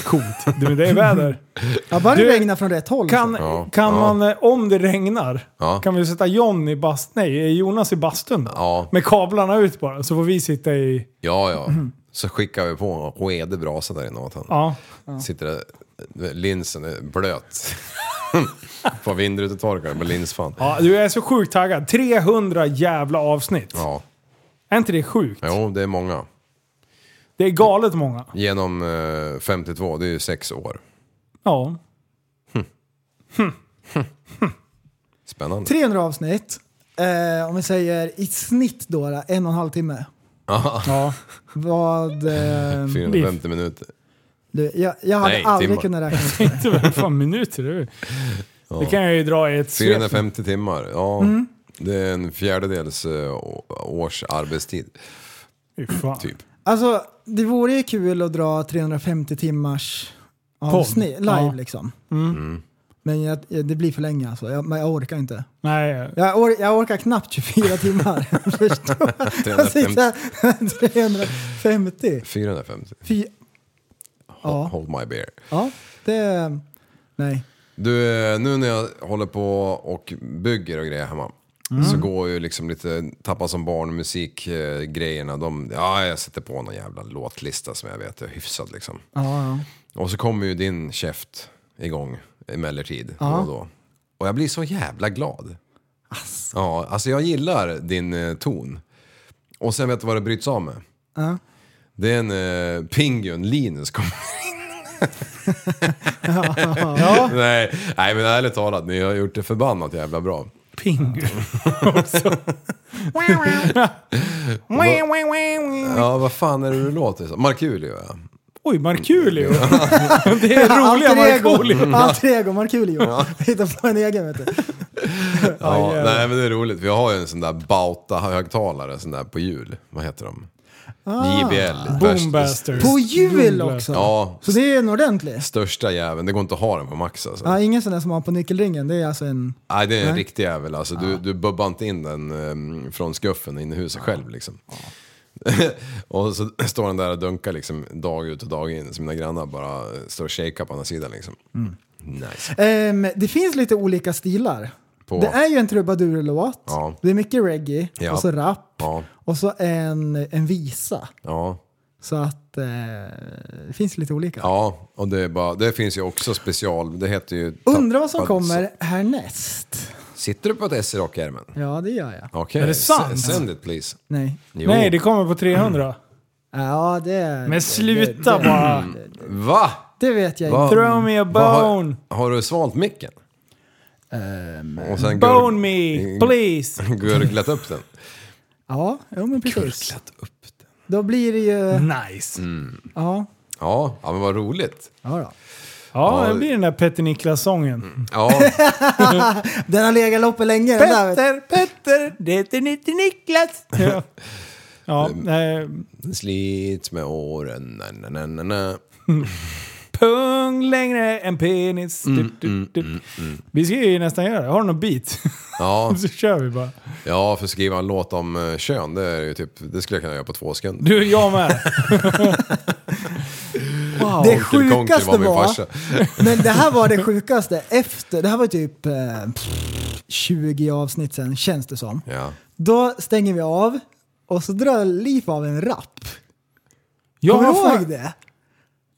E: Coolt. Du, det är väder.
H: Ja, bara
E: Du-
H: det regnar från rätt håll.
E: Kan,
F: Ja.
E: kan
F: Ja.
E: man, eh, om det regnar,
F: Ja.
E: kan vi sätta John i bast, nej, eh, Jonas i bastun? då?
F: Ja.
E: Med kablarna ut bara, så får vi sitta i...
F: Ja, ja. Så skickar vi på en redig brasa där inne åt honom.
E: Ja.
F: Sitter där, linsen är blöt. <laughs> på vindrutetorkaren med linsfan.
E: ja. Du jag är så sjukt taggad. 300 jävla avsnitt.
F: Ja.
E: Är inte det sjukt?
F: Jo, det är många.
E: Det är galet många.
F: Genom eh, 52, det är ju sex år.
E: Ja. <laughs>
F: Spännande.
H: 300 avsnitt. Eh, om vi säger i snitt då, då, en och en halv timme.
E: ja.
H: Vad... Eh,
F: 450 minuter.
H: du, jag, jag hade
F: Nej,
H: aldrig
F: timmar.
H: kunnat räkna ut.
E: Inte väl fan minuter du. Det kan jag ju dra i ett svep.
F: 450 timmar, ja.
E: Mm.
F: Det är en fjärdedels eh, å- års arbetstid.
E: Fy fan. <laughs>
F: Typ.
H: Alltså, det vore ju kul att dra 350 timmars avsnitt, live
E: Ja. Mm.
H: liksom. Men jag, jag- det blir för länge alltså. Jag, men jag orkar inte.
E: Nej,
H: Jag, or, jag orkar knappt 24 timmar. <laughs> Förstår du? Jag
F: 350.
H: sitter- 350.
F: 450.
H: Fy, Ja.
F: Hold my beer.
H: ja, det... Nej.
F: Du, eh, nu när jag håller på och bygger och grejer hemma. Så går ju liksom lite tappa som barn musik eh, grejerna. De, ja, jag sätter på någon jävla låtlista som jag vet är hyfsad liksom.
H: Ja,
F: Och så kommer ju din käft igång emellertid
H: Ja.
F: då och då. Och jag blir så jävla glad. Ja, alltså jag gillar din eh, ton. Och sen vet du vad det bryts av med?
H: Ja.
F: Det är en eh, pingun, Linus kommer
H: <laughs> ja. ja.
F: nej, nej, men ärligt talat, ni har gjort det förbannat jävla bra.
E: Pingu.
H: <laughs>
F: Ja, vad fan är det du låter som? Markoolio ja.
E: Oj, Markoolio.
F: Mm.
E: <laughs> Det är roliga Markoolio.
H: Alter ego, Markoolio. Hitta på en egen vet du.
F: ja
E: jävlar.
F: nej, men det är roligt. Vi har ju en sån där Bauta-högtalare, sån där på hjul. Vad heter de?
H: Ah,
F: JBL. Värst-
E: Boombasters.
H: På jul också!
F: Ja,
H: Så det är en ordentlig.
F: största jäveln. Det går inte att ha den på max alltså.
H: Ja, ingen sån där som man har på nyckelringen. Det är alltså en...
F: Nej, det är en riktig jävel. Alltså,
H: Ah.
F: du, du bubbar inte in den ehm, från skuffen in i huset själv liksom.
H: Ah.
F: <laughs> och så står den där och dunkar liksom, dag ut och dag in. Så mina grannar bara eh, står och shakar på andra sidan liksom.
H: Mm.
F: Nice.
H: Ehm, det finns lite olika stilar.
F: På-
H: Det är ju en trubadurlåt.
F: Ja.
H: Det är mycket reggae.
F: Ja.
H: Och så rap.
F: Ja,
H: Och så en, en visa.
F: ja,
H: Så att eh, det finns lite olika.
F: ja. Och det, är bara, det finns ju också special. Det heter ju...
H: Undrar vad som
F: tappad-
H: kommer härnäst.
F: Sitter du på ett S-rockärmen?
H: Ja, det gör jag.
F: Okej.
E: Är det sant?
F: S- Send it please.
H: Nej.
F: Jo.
E: Nej, det kommer på 300.
H: Ja, det är...
E: Men sluta bara.
F: Va?
H: Det vet jag
F: Va?
H: inte.
E: Mm. Throw me a
F: Vad har-
E: bone.
F: Har du svalt micken? och sen gurg-
E: Bone
F: <laughs> Mm.
H: Ehm.
E: me, please.
F: gurglat upp den?
H: Ja, jo, men precis.
F: Rätt upp den.
H: Då blir det ju...
E: Nice.
F: Mm.
H: Ja,
F: Ja, ja, men vad roligt.
H: ja då.
E: Ja,
F: Ja,
E: det blir den där Petter Niklas-sången.
F: Ja,
H: Den har legat loppet länge. den där, vet du.
E: Petter, det är inte
F: <laughs>
E: Niklas. Ja, ja
F: Mm.
E: eh,
F: slits med åren. Na, na, na, na, na.
E: pung längre än penis. Dup, dup, dup. Vi ska ju nästan göra det. Har du någon beat?
F: Ja,
E: <laughs> Så kör vi bara.
F: ja, för skriva en låt om eh, kön, det, är ju typ, det skulle jag kunna göra på två sekunder.
E: Du, jag <laughs> med. wow.
H: Det
F: Onkel Konkel
H: sjukaste var...
F: var min farsa.
H: <laughs> Men det här var det sjukaste efter... Det här var typ eh, pff, 20 avsnitt sen, känns det som.
F: Ja.
H: Då stänger vi av och så drar Liv av en rapp.
E: Jag
H: Kommer
E: har
H: du ihåg
E: fan-
H: det?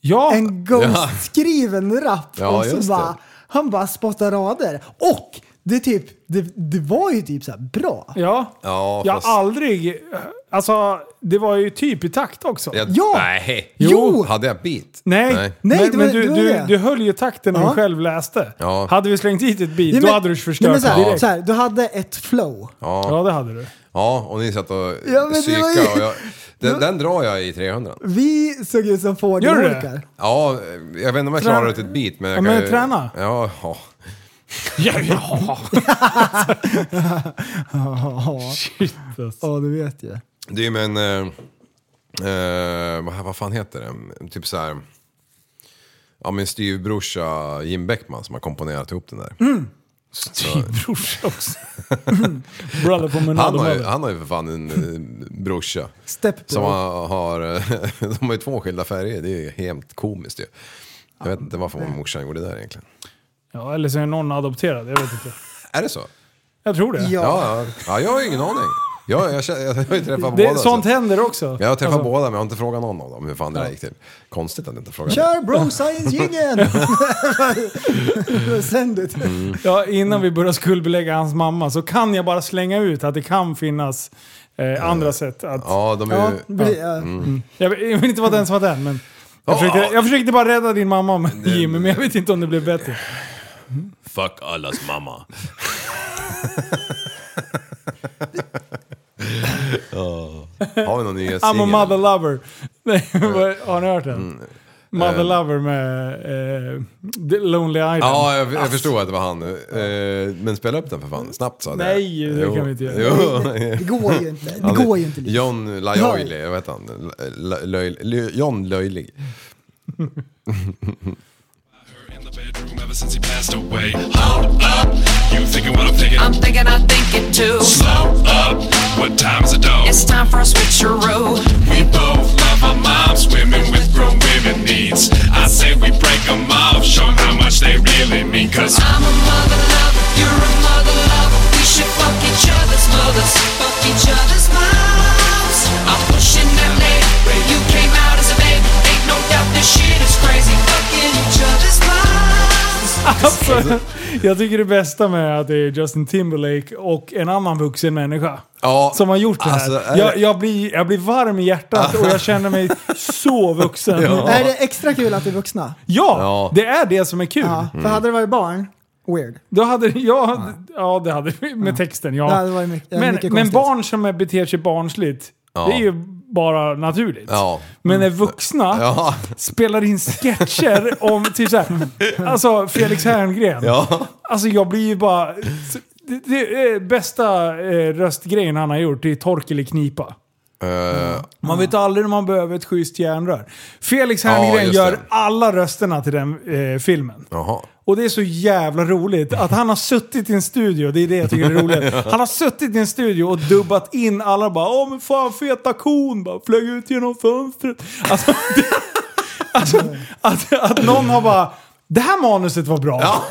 E: Ja,
H: En Ghost-skriven rapp.
F: Ja,
H: och
F: just
H: så
F: det.
H: bara, han bara spottar rader. Och det, typ, det, det var ju typ så här bra.
E: ja.
F: Ja,
E: jag
F: fast-
E: har aldrig... Alltså, det var ju typ i takt också.
F: Jag,
H: Ja!
F: Nej!
H: Jo!
F: Hade jag beat?
E: Nej,
F: Nej.
H: Nej,
E: men,
H: det var-
E: men du,
H: det var
E: du,
H: det.
E: du höll ju takten när
H: Ja.
E: du själv läste.
F: Ja.
E: Hade vi slängt hit ett beat,
H: Nej,
E: då
H: men-
E: hade du
H: nej,
E: förstört
H: men så här,
E: direkt.
H: så här, Du hade ett flow.
E: Ja, det hade du.
F: Ja, och ni satt och
H: <laughs> Ja, men det var ju-
F: psykade. och jag- Den, den drar jag i 300.
H: Vi såg ut som
E: Gör du det?
H: fågelholkar.
F: Ja, jag vet inte om jag
E: Träna-
F: klarar ut ett beat, men
E: Ja,
F: jag kan
E: men
F: ju...
E: träna.
F: Ja, ja.
E: <laughs> Ja, ja.
H: Ja,
E: Shit, alltså.
H: ja, du vet ju.
F: Det är ju med en... eh, eh, vad, vad fan heter det? Typ så här... Ja, min styvbrorsa Jim Beckman som har komponerat ihop den där.
E: Mm. Brorsa också. <laughs> Brother from another
F: Han har, ju,
E: mother.
F: han har ju för fan en eh, brorsa.
H: Step
F: Som
H: bro.
F: har, har, eh, <laughs> de har ju två skilda färger, det är ju helt komiskt ju. Jag vet inte varför morsan gjorde det där egentligen.
E: Ja, eller så är någon adopterad. Jag vet inte.
F: Är det så?
E: Jag tror det.
H: Ja.
F: Ja, ja. ja jag har ju ingen aning. Ja, jag, känner- jag har ju träffat båda.
E: det sånt
F: så.
E: händer också.
F: Jag har träffat
E: Alltså,
F: båda men jag har inte frågat någon av dem hur fan det där gick till. Konstigt att jag inte frågade.
H: Kör bro science
F: <laughs>
H: jingeln! Sänd det.
F: Mm.
E: ja, innan vi börjar skuldbelägga hans mamma så kan jag bara slänga ut att det kan finnas eh, andra sätt att...
F: Ja, Mm. de är
H: Ja,
F: ju...
H: bli, ja.
E: Jag, vill- jag vill inte vara den som var den, men... Jag försökte, jag försökte bara rädda din mamma, men- Jimmy, men jag vet inte om det blev bättre.
G: Fuck allas mamma.
F: <laughs> Har vi någon nyhetssingel?
E: I'm a mother lover. <laughs> Nej, vad- har ni hört den?
F: Mm.
E: Mother lover med eh, The Lonely Island.
F: Ja, jag, jag förstår att det var han. Eh, Men spela upp den för fan, snabbt sa jag.
E: Nej, det
F: Jo.
E: kan vi inte göra.
F: Jo.
H: Det går ju inte.
F: Ja,
H: Det går ju inte. Liv.
F: John Lajoili, jag vet han. L- Löj- Lö- John Löjlig.
I: in the bedroom ever since he passed away. Hold up, you thinking what I'm thinking?
J: I'm thinking I think it too.
I: Slow up, what time's it dog?
J: It's time for a switcheroo.
I: We both love our moms, women with grown women needs. I say we break them off, show 'em how much they really mean. Cause
J: I'm a mother lover, you're a mother lover. We should fuck each other's mothers, fuck each other's moms. I'm pushing that lane where you came out as a babe. Ain't no doubt this shit is crazy. Fucking each other's moms.
E: Alltså, jag tycker det bästa med att det är Justin Timberlake och en annan vuxen människa
F: Ja,
E: som har gjort det här.
F: alltså, är det-
E: jag, jag, blir, jag blir varm i hjärtat och jag känner mig så
F: <laughs>
E: vuxen. Ja,
H: Är det extra kul att vi är vuxna?
F: Ja.
E: det är det som är kul.
H: Ja,
F: Mm.
H: för hade det varit barn, weird.
E: Då hade ja, ja, det hade vi med texten, ja.
H: Ja, det var ju mycket- ja,
E: men,
H: mycket
E: men
H: konstigt.
E: barn som är- beter sig barnsligt, det är ju bara naturligt.
F: Ja.
E: Men när vuxna
F: Ja.
E: spelar in sketcher om typ
F: <laughs>
E: såhär, alltså Felix Herngren.
F: Ja.
E: Alltså jag blir ju bara... Det, det är bästa eh, röstgrejen han har gjort, det är Torkel i knipa.
F: Eh,
E: Man vet aldrig när man behöver ett schysst järnrör. Felix
F: Ja,
E: Herngren
F: just
E: gör
F: det.
E: alla rösterna till den eh, filmen.
F: Jaha.
E: Och det är så jävla roligt att han har suttit i en studio, det är det jag tycker är
F: <laughs>
E: roligt. Han har suttit i en studio och dubbat in alla bara Åh men fan feta kon bara flög ut genom fönstret. Alltså, <laughs> det, alltså att, att någon har bara det här manuset var bra. Ja,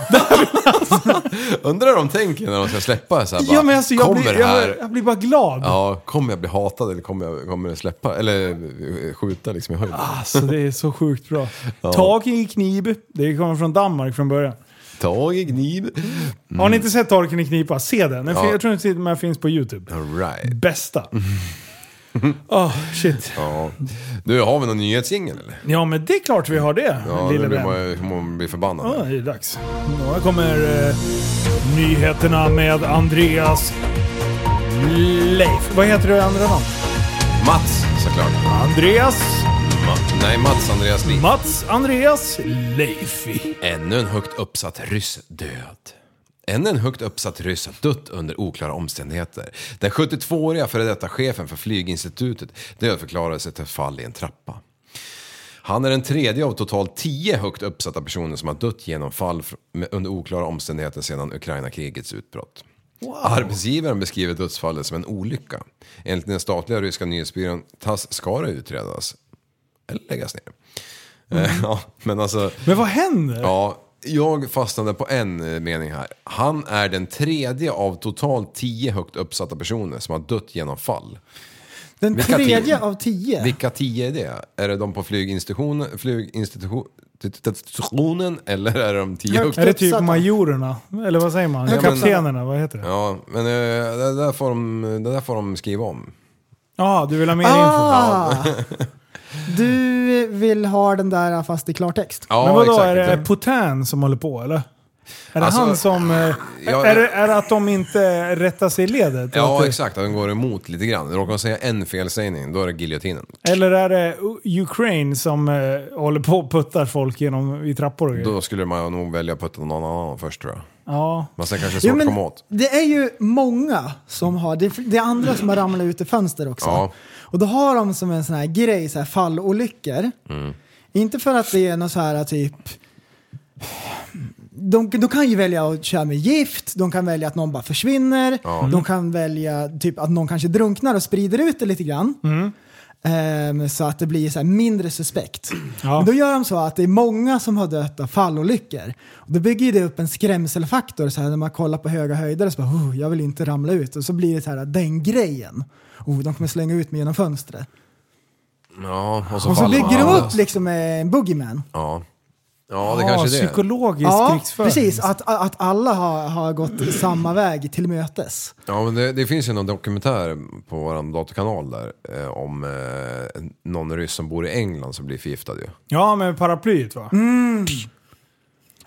F: Undrar om de tänker när de ska släppa så här, bara,
E: men alltså, jag,
F: kommer
E: blir,
F: det här...
E: jag, jag blir bara glad.
F: Ja, kommer jag bli hatad eller kommer, jag, kommer det släppa? Eller eh, skjuta liksom i höjden?
E: Alltså det är så sjukt
F: <laughs>
E: bra. Tag i knib, det kommer från Danmark från början.
F: Tag i kniv.
E: Har ni inte sett Torken i knipa, se den. den fin-
F: Mm. Ja.
E: Jag tror den till och med finns på YouTube.
F: All right.
E: Bästa. <laughs> Oh, shit.
F: Mm. Ja. Du, har vi någon nyhetsjingel eller?
E: Ja men det är klart vi har det,
F: Ja,
E: lille
F: nu blir
E: vän.
F: man, ju- man blir förbannad.
E: Ja, det är dags. Och här kommer eh, nyheterna med Andreas Leif. Vad heter du i andra namn?
F: Mats såklart.
E: Andreas.
F: Ma- nej, Mats Andreas Liv.
E: Mats Andreas Leifi.
F: Ännu en högt uppsatt ryss död. Ännu en högt uppsatt ryss har dött under oklara omständigheter. Den 72-åriga före detta chefen för flyginstitutet dödförklarades efter ett fall i en trappa. Han är den tredje av totalt tio högt uppsatta personer som har dött genom fall fr- med- under oklara omständigheter sedan Ukraina-krigets utbrott. Arbetsgivaren beskriver dödsfallet som en olycka. Enligt den statliga ryska nyhetsbyrån TASS ska det utredas. Eller läggas ner. Eh, <laughs> Ja, men alltså...
E: Men vad händer?
F: Ja, jag fastnade på en eh, mening här. Han är den tredje av totalt tio högt uppsatta personer som har dött genom fall.
H: Den
F: Vilka
H: tredje
F: tio?
H: av tio.
F: Vilka tio är det? Är det de på flyginstitutionen, flyginstitutionen eller är det de tio högt
E: Är det typ
H: Uppsatta.
E: majorerna? Eller vad säger man?
F: Ja, men-
E: Kaptenerna, vad heter det?
F: Ja, men eh, det där, får de, det där får de skriva om.
E: Ja, du vill ha mer info?
H: Ah! <laughs> Du vill ha den där äh, fast i klartext.
F: Ja,
E: Men vadå,
F: exakt.
E: är det Potin som håller på eller? Är det
F: Alltså,
E: han som... eh,
F: jag-
E: är, det, är det att de inte rättar sig i ledet? Att
F: Ja,
E: det-
F: exakt. Den går emot lite grann. Råkar de säga en felsägning, då är det giljotinen.
E: Eller är det U- Ukraine som eh, håller på och puttar folk genom, i trappor och grejer?
F: Då skulle man nog välja att putta någon annan först tror jag.
E: Ja.
F: Men sen kanske det är svårt
H: Jo,
F: att
H: men
F: komma åt.
H: Det är ju många som har, det, det är andra som har ramlat ut i fönster också.
F: Ja.
H: Och då har de som en sån här grej, så här fallolyckor.
F: Mm.
H: Inte för att det är något så här typ... De, de kan ju välja att köra med gift, de kan välja att någon bara försvinner, de kan välja typ att någon kanske drunknar och sprider ut det lite grann. Ehm, så att det blir så här mindre suspekt.
E: Ja.
H: Men då gör de så att det är många som har dött av fallolyckor. Och då bygger ju det upp en skrämselfaktor. Så här, när man kollar på höga höjder så bara, oh, jag vill inte ramla ut. Och så blir det så här, den grejen. Oh, de kommer slänga ut mig genom fönstret.
F: Ja, och så,
H: Och så
F: faller man.
H: bygger de upp liksom eh, en boogeyman.
F: Ja. Ja, det
E: Ja,
F: kanske är det.
E: psykologisk
H: Ja,
E: krigsföring.
H: precis. Att, att alla har, har gått samma väg till mötes.
F: Ja, men det, det finns ju någon dokumentär på vår datorkanal där eh, om eh, någon ryss som bor i England som blir förgiftad ju.
E: Ja, med paraplyet va?
F: Mm.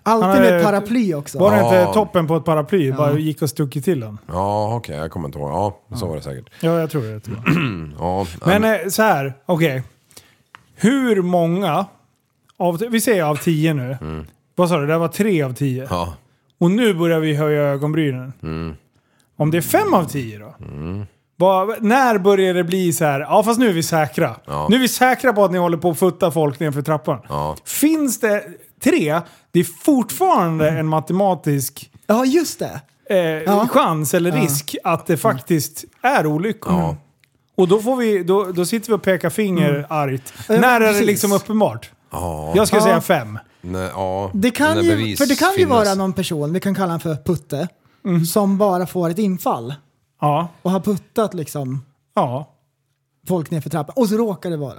H: Alltid
E: Han är-
H: med paraply också.
E: Var det
F: Ja.
E: inte toppen på ett paraply? Bara gick och stuckit till den.
F: Ja, okej, jag kommer inte ihåg. Ja, så var det säkert.
E: Ja, jag tror det. Jag tror det.
F: Ja,
E: Men eh, så här, okej. Hur många, av, vi säger av tio nu. Vad sa du, det här var tre av tio.
F: Mm. ja. Mm.
E: Och nu börjar vi höja ögonbrynen. Om det är fem av tio då? Vad- när börjar det bli så här, ja fast nu är vi säkra. Nu är vi säkra på att ni håller på att futta folk nerför trappan.
F: Ja.
E: Finns det tre, det är fortfarande
F: Mm.
E: en matematisk
H: Ja, just det.
E: eh, chans eller risk att det faktiskt är olyckor. Och då, får vi, då, då sitter vi och pekar finger argt.
H: Ja,
E: När är det
H: precis.
E: liksom uppenbart?
F: Ja.
E: Jag skulle
H: Ja.
E: säga fem.
F: Nej, ja.
H: Det kan,
F: När
H: ju,
F: bevis
H: för det kan ju
F: finns.
H: vara någon person, vi kan kalla honom för Putte, som bara får ett infall
E: Ja.
H: och har puttat liksom
E: Ja.
H: folk ner för trappan. Och så råkar det vara.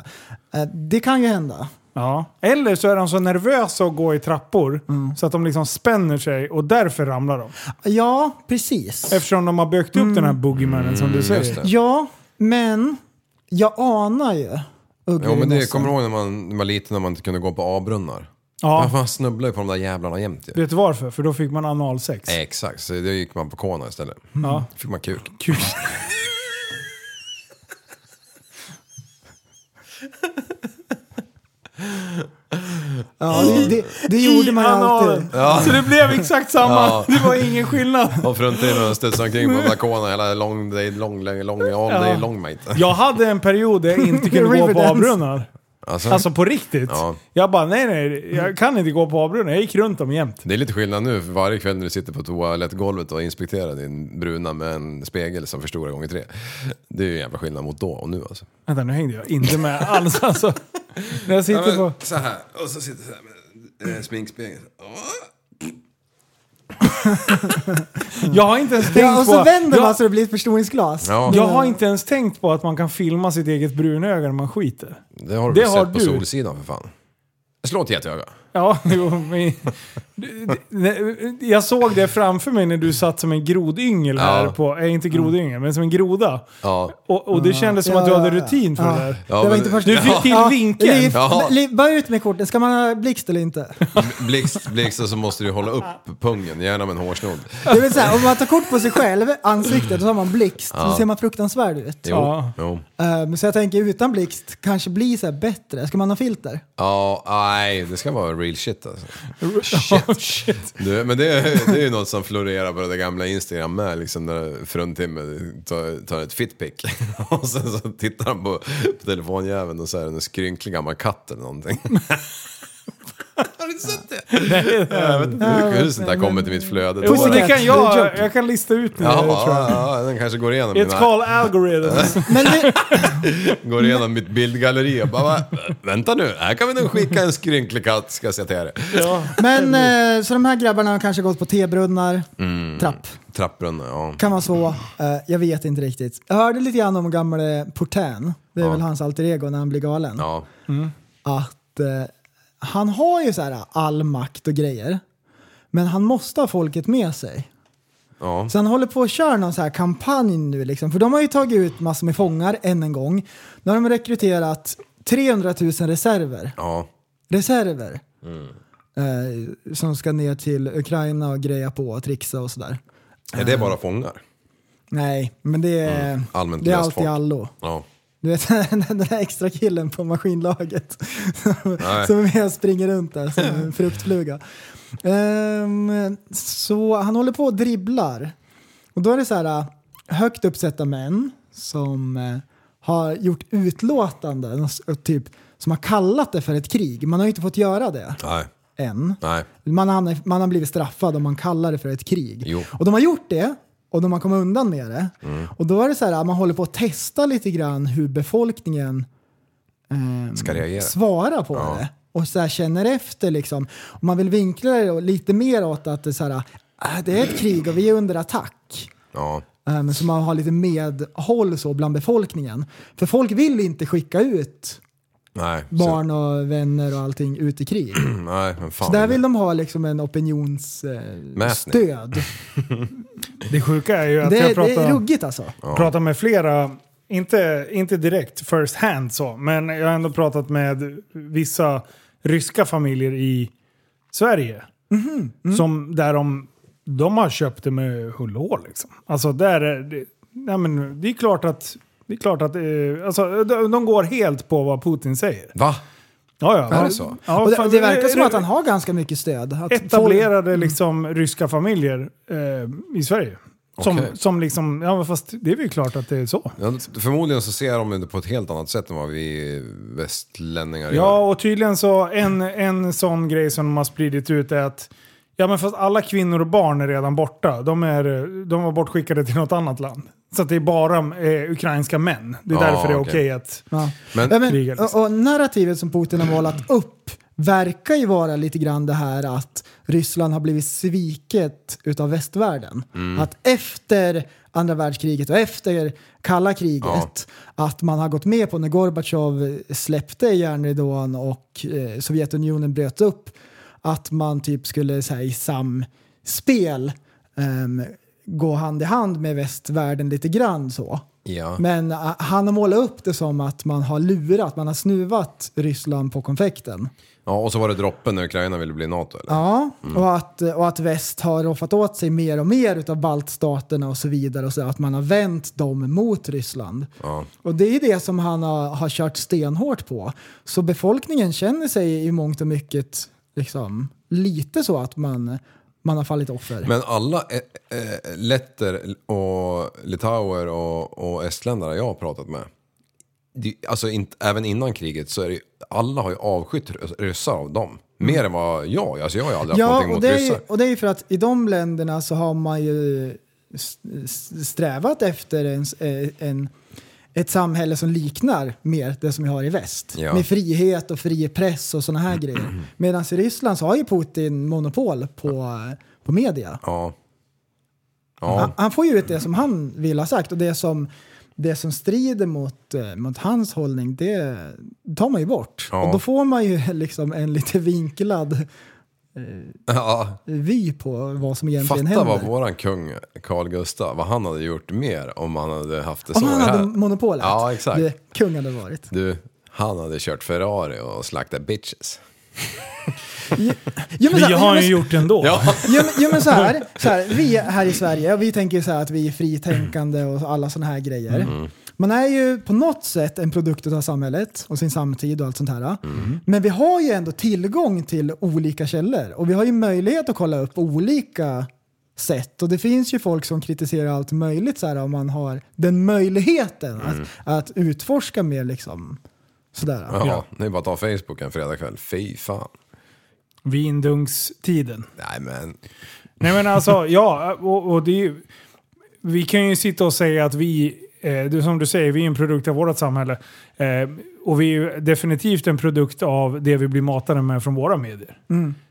H: Eh, Det kan ju hända.
E: Ja. Eller så är de så nervösa att gå i trappor så att de liksom spänner sig och därför ramlar de.
H: Ja, precis.
E: Eftersom de har byggt upp den här boogiemannen som du
F: Mm, just
E: säger.
F: det.
H: Ja, men jag anar ju ugglor
F: Jo, men det
H: i mossen.
F: kommer du ihåg när man när man var liten när man inte kunde gå på A-brunnar? Ja.
E: Ja.
F: Man snubblade ju på de där jävlarna jämt ju.
E: Vet du varför? För då fick man analsex.
F: Exakt, så då gick man på kåna istället.
H: Mm.
E: Ja.
F: Fick man kuk.
E: Kul.
H: Ja, det, det, det gjorde man ju alltid.
E: Så det blev exakt samma. Det var ingen skillnad.
F: Och fruntimmen studsade omkring på de där kåna hela long day, long, long, long, all day, long mate.
E: <laughs> Jag hade en period där jag inte kunde gå på
H: Riverdance.
E: avbrunnar. Alltså på riktigt.
F: Ja.
E: Jag bara, nej nej, jag kan inte gå på avbrunnar. Jag gick runt dem jämt.
F: Det är lite skillnad nu för varje kväll när du sitter på toalettgolvet och inspekterar din bruna med en spegel som förstorar gånger tre. Det är ju en jävla skillnad mot då och nu alltså.
E: Vänta, nu hängde jag inte med
F: <laughs>
E: alls alltså. När jag sitter på...
F: så här, och så sitter så här med eh, sminkspegeln.
E: Jag har inte ens tänkt
H: Ja, och
E: på...
H: så vänder
E: jag,
H: man så det blir ett förstoringsglas.
F: Ja,
E: Jag har inte ens tänkt på att man kan filma sitt eget brunöga när man skiter.
F: det har du
E: det
F: väl
E: har
F: sett på
E: du.
F: Solsidan för fan. Slå ett jätteöga.
E: Ja, <laughs> jo, men, du- d- nej, jag såg det framför mig när du satt som en grodyngel här
F: Ja. Mm.
E: på, äh, inte grodyngel, men som en groda.
F: Ja.
E: Och, och det kändes som
H: Ja,
E: att du
H: ja,
E: hade
H: ja.
E: rutin för
H: Ja.
E: det där.
F: Ja,
H: det var
F: men-
H: inte först-
E: Du fick till
H: Ja,
E: vinkeln.
H: Liv,
F: Ja.
H: Liv, bara ut med kortet. Ska man ha blixt
E: <laughs>
H: eller inte?
F: Blixt, blixt och så måste du hålla upp pungen, gärna med en hårsnodd.
H: Det vill säga, om man tar kort på sig själv, ansiktet, då har man blixt. Då ser man fruktansvärd ut.
F: Jo,
E: Ja.
F: jo.
H: Ehm, så jag tänker utan blixt kanske blir så här bättre. Ska man ha filter?
F: Ja, nej, det ska vara real shit alltså.
E: <laughs> Ja, shit.
F: Du, men det, är- det är ju något som florerar på det där gamla Instagram med, liksom när fruntimmer tar, tar ett fitpick. <laughs> Och sen så tittar han på, på telefonjäveln och så är det en skrynklig gammal katt eller någonting. <laughs> Har du sett det? Jag vet inte hur- hur sånt där kommer till mitt flöde. Det
E: Jo,
F: var-
E: det kan
H: Det är
E: jag,
H: jobb.
E: jag kan lista ut nu.
F: Ja,
E: tror jag.
F: ja, ja, den kanske går igenom,
E: It's
F: mina,
E: called algorithms.
F: <laughs>
H: Men
E: <laughs>
H: det,
F: går igenom mitt bildgalleri och bara va, vänta nu, här kan vi nog skicka en skrynklig katt ska jag säga till er.
H: men eh, så de här grabbarna har kanske gått på tebrunnar,
F: Mm.
H: trapp.
F: Trappbrunnar, ja.
H: Kan vara så. Eh, jag vet inte riktigt. Jag hörde lite grann om gamle Portin. Det är
F: Ja.
H: väl hans alter ego när han blir galen.
F: ja.
H: Att eh, han har ju så här all makt och grejer. Men han måste ha folket med sig.
F: ja.
H: Så han håller på och kör någon så här kampanj nu liksom. För de har ju tagit ut massor med fångar än en gång. Nu har de rekryterat 300 000 reserver.
F: Ja,
H: Reserver.
F: Mm.
H: Eh, som ska ner till Ukraina och greja på och trixa och sådär.
F: är det bara fångar?
H: Nej, men det är,
F: Mm. allmänt
H: det är
F: löst
H: allt i
F: folk.
H: allo.
F: Ja.
H: Du vet <laughs> den där extra killen på maskinlaget som-
F: Nej.
H: som är med och springer runt där som en fruktfluga. Ehm, så han håller på och dribblar. Och då är det så här äh, högt uppsatta män som eh, har gjort utlåtanden och s- och typ, som har kallat det för ett krig. Man har ju inte fått göra det
F: Nej,
H: än.
F: nej.
H: Man har, man har blivit straffad om man kallar det för ett krig.
F: Jo. Mm.
H: Och de har gjort det och de har kommit undan med det. Och då är det så här, man håller på att testa lite grann hur befolkningen ehm,
F: Ska reagera.
H: svarar på
F: Ja.
H: det. Och så här känner efter liksom. Och man vill vinkla det och lite mer åt att det, är så här, "Ah, det är ett krig och vi är under attack.
F: Ja.
H: Ehm, så man har lite medhåll så bland befolkningen. För folk vill inte skicka ut
F: Nej. så- Mm,
H: barn och vänner och allting ut i krig.
F: nej, men fan.
H: Så där vill de ha liksom en opinionsstöd. Eh,
F: Mätning.
H: stöd.
E: Det sjuka är ju att
H: det,
E: jag
H: är- det
E: pratar...
H: är ruggigt alltså.
E: pratat med flera, inte, inte direkt first hand så, men jag har ändå pratat med vissa ryska familjer i Sverige.
H: Mhm,
E: Som där de, de har köpt det med hull och hår liksom. Alltså där är det, nej men det är klart att, det är klart att, eh, alltså de, de går helt på vad Putin säger.
F: Va?
E: Ja, ja.
F: Är det så?
E: Ja,
H: Och det,
E: fan,
H: det verkar som
E: det-
H: att han har ganska mycket stöd. Att
E: etablerade liksom ryska familjer eh, i Sverige. Som,
F: Okej.
E: som liksom, ja men fast det är väl klart att det är så.
F: Ja, förmodligen så ser de det på ett helt annat sätt än vad vi västlänningar
E: Ja, och tydligen så en, en sån grej som de har spridit ut är att ja, men fast alla kvinnor och barn är redan borta. De, är, de var bortskickade till något annat land. Så att det är bara eh, ukrainska män. Det är
F: Ja,
E: därför det är okej
F: okej.
E: att...
H: Folk, ja.
F: Men-
H: ja,
E: Krigar,
H: men,
E: liksom.
H: och, och narrativet som Putin har målat upp verkar ju vara lite grann det här att Ryssland har blivit sviket utav västvärlden. Att efter andra världskriget och efter kalla kriget att man har gått med på när Gorbatjov släppte järnridån och eh, Sovjetunionen bröt upp att man typ skulle så här, i samspel ehm, gå hand i hand med västvärlden lite grann så.
F: Ja.
H: Men ah, han har målat upp det som att man har lurat, man har snuvat Ryssland på konfekten.
F: ja, och så var det droppen när Ukraina ville bli NATO eller?
H: Ja, och, att, och att väst har roffat åt sig mer och mer utav baltstaterna och så vidare. Och så att man har vänt dem mot Ryssland. Och det är det som han har, har kört stenhårt på. Så befolkningen känner sig i mångt och mycket liksom, lite så att man, man har fallit offer.
F: Men alla eh, eh, letter och litauer och, och estländare jag har pratat med, det, alltså inte, även innan kriget så är det ju- alla har ju avskytt rys- ryssar av dem. Mer än vad jag, alltså jag har ju aldrig haft
H: Mm. Ja,
F: någonting
H: och
F: mot
H: det, är ju,
F: ryssar.
H: och det är ju för att i de länderna så har man ju s- s- strävat efter en, s- eh, en, ett samhälle som liknar mer det som vi har i väst.
F: Ja.
H: Med frihet och fri press och sådana här grejer. Medan i Ryssland så har ju Putin monopol på, på media.
F: Ja.
H: Han,
F: Ja.
H: han får ju ut det som han vill ha sagt och det som det som strider mot, eh, mot hans hållning, det tar man ju bort.
F: Ja.
H: Och då får man ju <laughs> liksom en lite vinklad
F: Ja,
H: vy på vad som egentligen
F: fatta vad
H: händer.
F: våran kung Carl Gustaf, vad han hade gjort mer om han hade haft det så
H: Om han
F: här.
H: hade monopolet.
F: Ja, exakt.
H: Det kung
F: <laughs>
H: hade varit.
F: Du, han hade kört Ferrari och slaktat bitches.
H: Jo,
E: Det
H: så här-
E: har han ju
H: jo,
E: gjort ändå.
H: Jo, men- jo men så
F: <laughs>
H: här, så här, vi här i Sverige, vi tänker ju så här att vi är fritänkande och alla sådana här grejer.
F: Mm.
H: Man är ju på något sätt en produkt av samhället och sin samtid och allt sånt här.
F: Mm.
H: Men vi har ju ändå tillgång till olika källor och vi har ju möjlighet att kolla upp olika sätt. Och det finns ju folk som kritiserar allt möjligt så här, om man har den möjligheten att, att utforska mer liksom. Sådär.
F: Mm. Ja, det är bara att ta Facebook en fredagkväll. Fy fan.
E: Vindungstiden.
F: Nej men,
E: Nej men alltså, ja, och, och det är ju, Vi kan ju sitta och säga att vi, eh, du, som du säger, vi är en produkt av vårt samhälle. Eh, och vi är ju definitivt en produkt av det vi blir matade med från våra medier.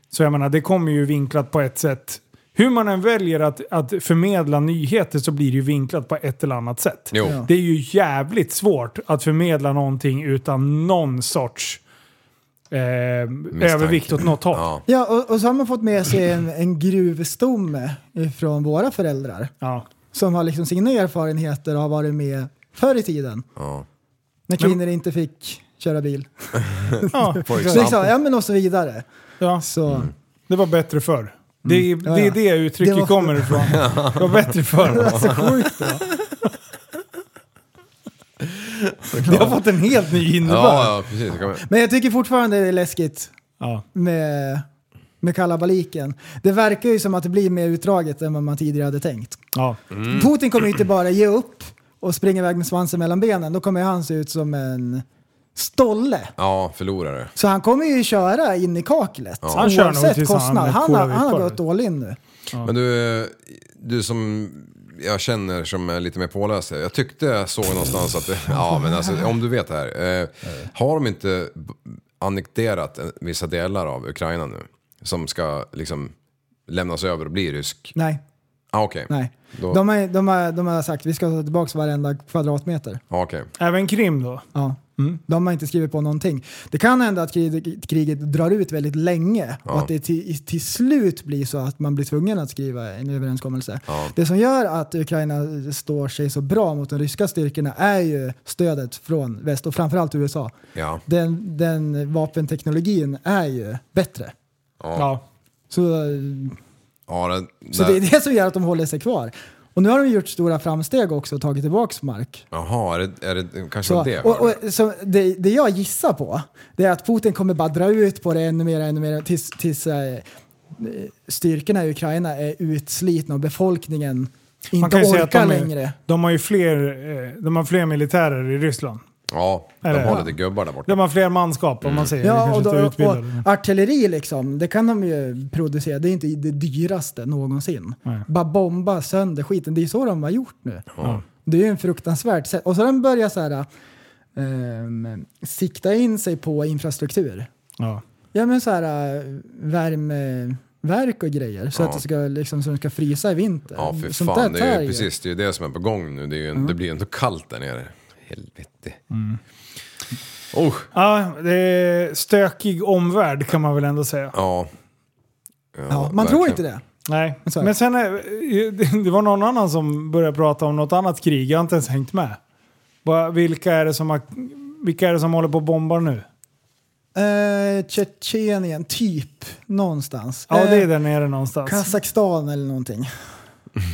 E: Så jag menar, det kommer ju vinklat på ett sätt. Hur man än väljer att, att förmedla nyheter så blir det ju vinklat på ett eller annat sätt.
F: jo.
H: Ja.
E: Det är ju jävligt svårt att förmedla någonting utan någon sorts eh, övervikt åt något håll.
F: Ja.
H: Ja, och, och så har man fått med sig en, en gruvstomme från våra föräldrar
E: Ja.
H: som har liksom sina erfarenheter och har varit med förr i tiden
F: Ja.
H: när kvinnor inte fick köra bil.
E: Ja.
F: For
H: Så liksom,
F: example.
H: ja, men och så vidare.
E: Ja.
H: Så, <laughs>
E: Det var bättre förr. Det är,
H: Mm. Ja,
E: det, är
H: ja.
E: det uttrycket
H: Det var-
E: kommer
H: <laughs>
E: ifrån. Det var bättre förr.
H: så sjukt då.
E: Det har fått en helt ny innebörd.
F: Ja, ja, precis. Det kan man-
H: Men jag tycker fortfarande det är läskigt
E: Ja.
H: med, med kalabaliken. Det verkar ju som att det blir mer utdraget än vad man tidigare hade tänkt.
E: Ja.
H: Putin kommer ju inte bara ge upp och springa iväg med svansen mellan benen. Då kommer ju han se ut som en stolle.
F: Ja, förlorare.
H: Så han kommer ju köra in i kaklet.
E: Han kör nog
H: Oavsett
E: tills han
H: kostnad.
E: är
H: Han,
E: coolare
H: har, han har
E: utförare.
H: gått all in nu.
F: Men du, du som jag känner som är lite mer påläst. här, Jag tyckte jag såg någonstans att, det-
H: <laughs>
F: ja men alltså om du vet det här. Eh, har de inte b- annekterat en- vissa delar av Ukraina nu? Som ska liksom lämnas över och bli rysk?
H: Nej,
F: Ah, Okej.
H: nej.
F: Då-
H: De, har, de, har, de har sagt vi ska ta tillbaka varenda kvadratmeter.
F: Ah, okej.
E: Även Krim då?
H: Ja.
E: Mm.
H: De har inte skrivit på någonting. Det kan hända att kriget, kriget drar ut väldigt länge och att det till, till slut blir så att man blir tvungen att skriva en överenskommelse. Det som gör att Ukraina står sig så bra mot de ryska styrkorna är ju stödet från väst och framförallt USA.
F: Ja.
H: Den, den vapenteknologin är ju bättre.
E: Ja.
H: Så, eh,
F: Ja, det,
H: så
F: där-
H: <laughs> det är det som gör att de håller sig kvar. Och nu har de gjort stora framsteg också och tagit tillbaka mark.
F: Jaha, är det, är det kanske var
H: Så,
F: det?
H: och, och, så det, det jag gissar på det är att Putin kommer bara dra ut på det ännu mer ännu mer tills, tills eh, styrkorna i Ukraina är utslitna och befolkningen
E: Man
H: inte
E: kan ju säga
H: orkar
E: att de, är,
H: längre.
E: de har ju fler, eh, de har fler militärer i Ryssland.
F: ja, de
E: Eller-
F: har lite gubbar där borta.
E: De har fler manskap om man säger. Ja,
H: Ja,
E: kanske
H: och,
E: inte är
H: då, och
E: utbildade.
H: artilleri liksom, det kan de ju producera. Det är inte det dyraste någonsin.
E: Nej.
H: Bara bomba sönder skiten. Det är ju så de har gjort nu. Det är ju en fruktansvärt sätt. Och så har de börjat så här, ehm, sikta in sig på infrastruktur.
E: Ja.
H: Ja men så här äh, värmeverk och grejer så
F: Ja.
H: att det ska, liksom, så de ska frysa i vinter.
F: Ja, för
H: Sånt
F: fan.
H: där Mm.
F: Det är
H: tär
F: ju precis det, är ju det som är på gång nu. Det, är ju, det blir ju inte kallt där nere. Helvete.
H: Mm.
F: Oh,
E: ja, det är stökig omvärld kan man väl ändå säga.
F: ja.
H: Ja, man tror inte det.
E: Nej,
H: Så är
E: men
H: det.
E: sen eh, <laughs> det var någon annan som började prata om något annat krig. Jag har inte ens hängt med. Bara, vilka, är det som har, vilka är det som håller på och bombar nu?
H: Eh, Tjetjenien, typ. Någonstans.
E: Ja, det är
H: Eh,
E: där nere någonstans.
H: Kazakstan eller någonting.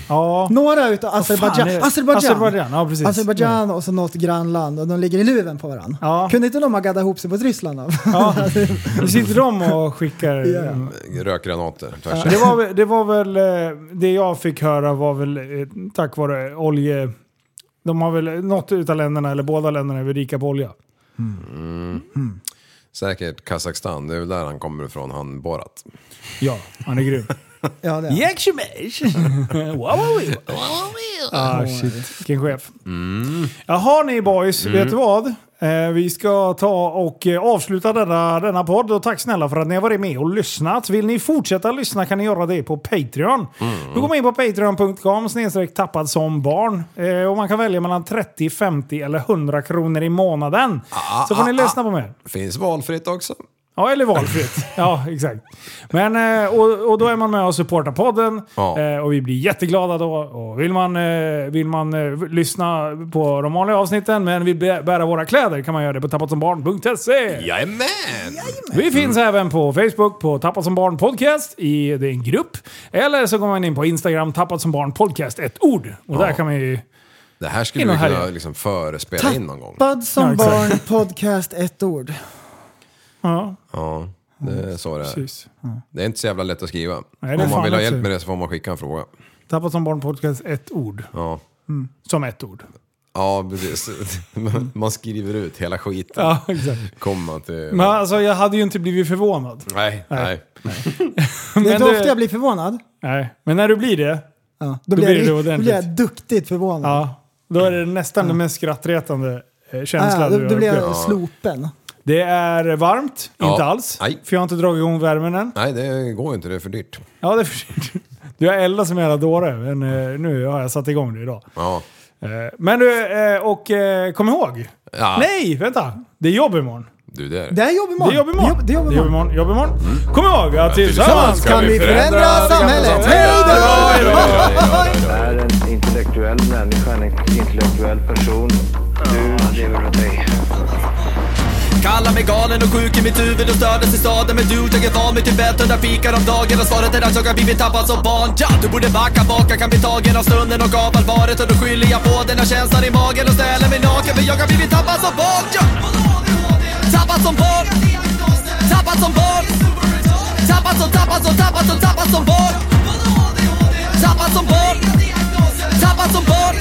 E: ja.
H: Några utav Azerbajdzjan.
E: Fan, är det-
H: Azerbajdzjan.
E: Azerbajdzjan, ja precis.
H: Azerbajdzjan och så något grannland och de ligger i luven på varandra.
E: Ja.
H: Kunde inte de ha gaddat ihop sig mot Ryssland då? <laughs>
E: Ja, nu sitter de och skickar...
H: Ja.
F: Rökgranater tvärs
E: Det var, väl- det var väl... eh, Det jag fick höra var väl eh, tack vare olje... De har väl något utav länderna, eller båda länderna, är väl rika på olja.
F: Säkert Kazakstan, det är väl där han kommer ifrån, han Borat.
E: Ja, han är grym.
H: ja, det är.
E: Wowowie! Ah shit, vilken chef. Jaha ni boys, vet du vad? Eh, Vi ska ta och eh, avsluta denna, denna podd. Och tack snälla för att ni har varit med och lyssnat. Vill ni fortsätta lyssna kan ni göra det på Patreon. Då går man in på patreon.com snedstreck tappad som barn. Eh, Och man kan välja mellan 30, 50 eller 100 kronor i månaden. Så får ni lyssna på mig.
F: Finns valfritt också.
E: Ja, eller valfritt. <laughs> Ja, exakt. Men, eh, och, och då är man med och supportar podden.
F: Ja.
E: Eh, Och vi blir jätteglada då. Och vill man, eh, vill man eh, lyssna på de vanliga avsnitten men vill bä- bära våra kläder kan man göra det på tappatsombarn.se.
F: Jajamän!
E: Vi finns även på Facebook på Tappat som barn podcast. I, det är en grupp. Eller så går man in på Instagram, Tappat som barn podcast, ett ord. Och där kan man ju...
F: Det här skulle
E: In och
F: vi kunna
E: härja.
F: liksom förespela in någon gång.
H: Bud som
E: Ja, exakt.
H: barn, podcast,
E: <laughs>
H: ett ord.
E: Ja,
F: Ja, det är så det är.
E: precis.
F: Det är inte så jävla lätt att skriva.
E: det är
F: Om
E: fan
F: man vill ha
E: inte.
F: hjälp med det så får man skicka en fråga.
E: Tappat som barn podcast, ett ord.
F: Ja,
E: Som ett ord.
F: ja precis.
E: <laughs>
F: Man- Man skriver ut hela skiten.
E: Ja, exakt.
F: Komma till...
E: Men alltså, jag hade ju inte blivit förvånad.
F: Nej, nej.
H: Vet
E: Men
H: du hur ofta
E: det-
H: jag blir förvånad?
E: Nej, men när du blir det,
H: Ja, då,
E: Då
H: blir
E: blir
H: jag,
E: det
H: då
E: ordentligt.
H: blir jag duktigt förvånad.
E: ja, då är det nästan den mest skrattretande eh, känslan
H: Ah, då,
E: du har
H: då blir jag
E: upplevt.
H: slopen.
E: Det är varmt,
F: Ja.
E: inte alls.
F: Nej.
E: För jag har inte dragit igång värmen än.
F: Nej, det går ju inte. Det är för dyrt.
E: Ja, det är för... <laughs> Du har eldat som en jävla dåre, men eh, nu har jag satt igång det idag.
F: Ja.
E: Eh, Men du, eh, och eh, kom ihåg.
F: ja.
E: Nej, vänta. Det är jobb imorgon.
F: Du, det är
H: Det är jobb imorgon.
E: Det är jobb imorgon.
H: Det är jobb
E: Det är jobb
H: imorgon.
E: imorgon. Jobb imorgon. Kom ihåg att tillsammans
H: Kan vi förändra samhället? Hej
E: Hej då!
C: är en intellektuell människa, en intellektuell person. Du lever av dig.
A: Kallar mig galen och sjuk i mitt huvud och stördes i staden Men du, jag är van vid Tibet och där fikar om dagen Och svaret är att jag har blivit tappad som barn ja, Du borde backa bak, jag kan bli tagen av stunden och av allvaret Och då skyller jag på den här känslan i magen och ställer mig naken För jag har blivit tappad som barn ja. Tappad som barn Tappad som barn Tappad som, tappad som, tappad som, tappad som barn Tappad som barn Tappad som barn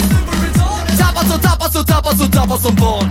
A: Tappad som, tappad som, tappad som, tappad som barn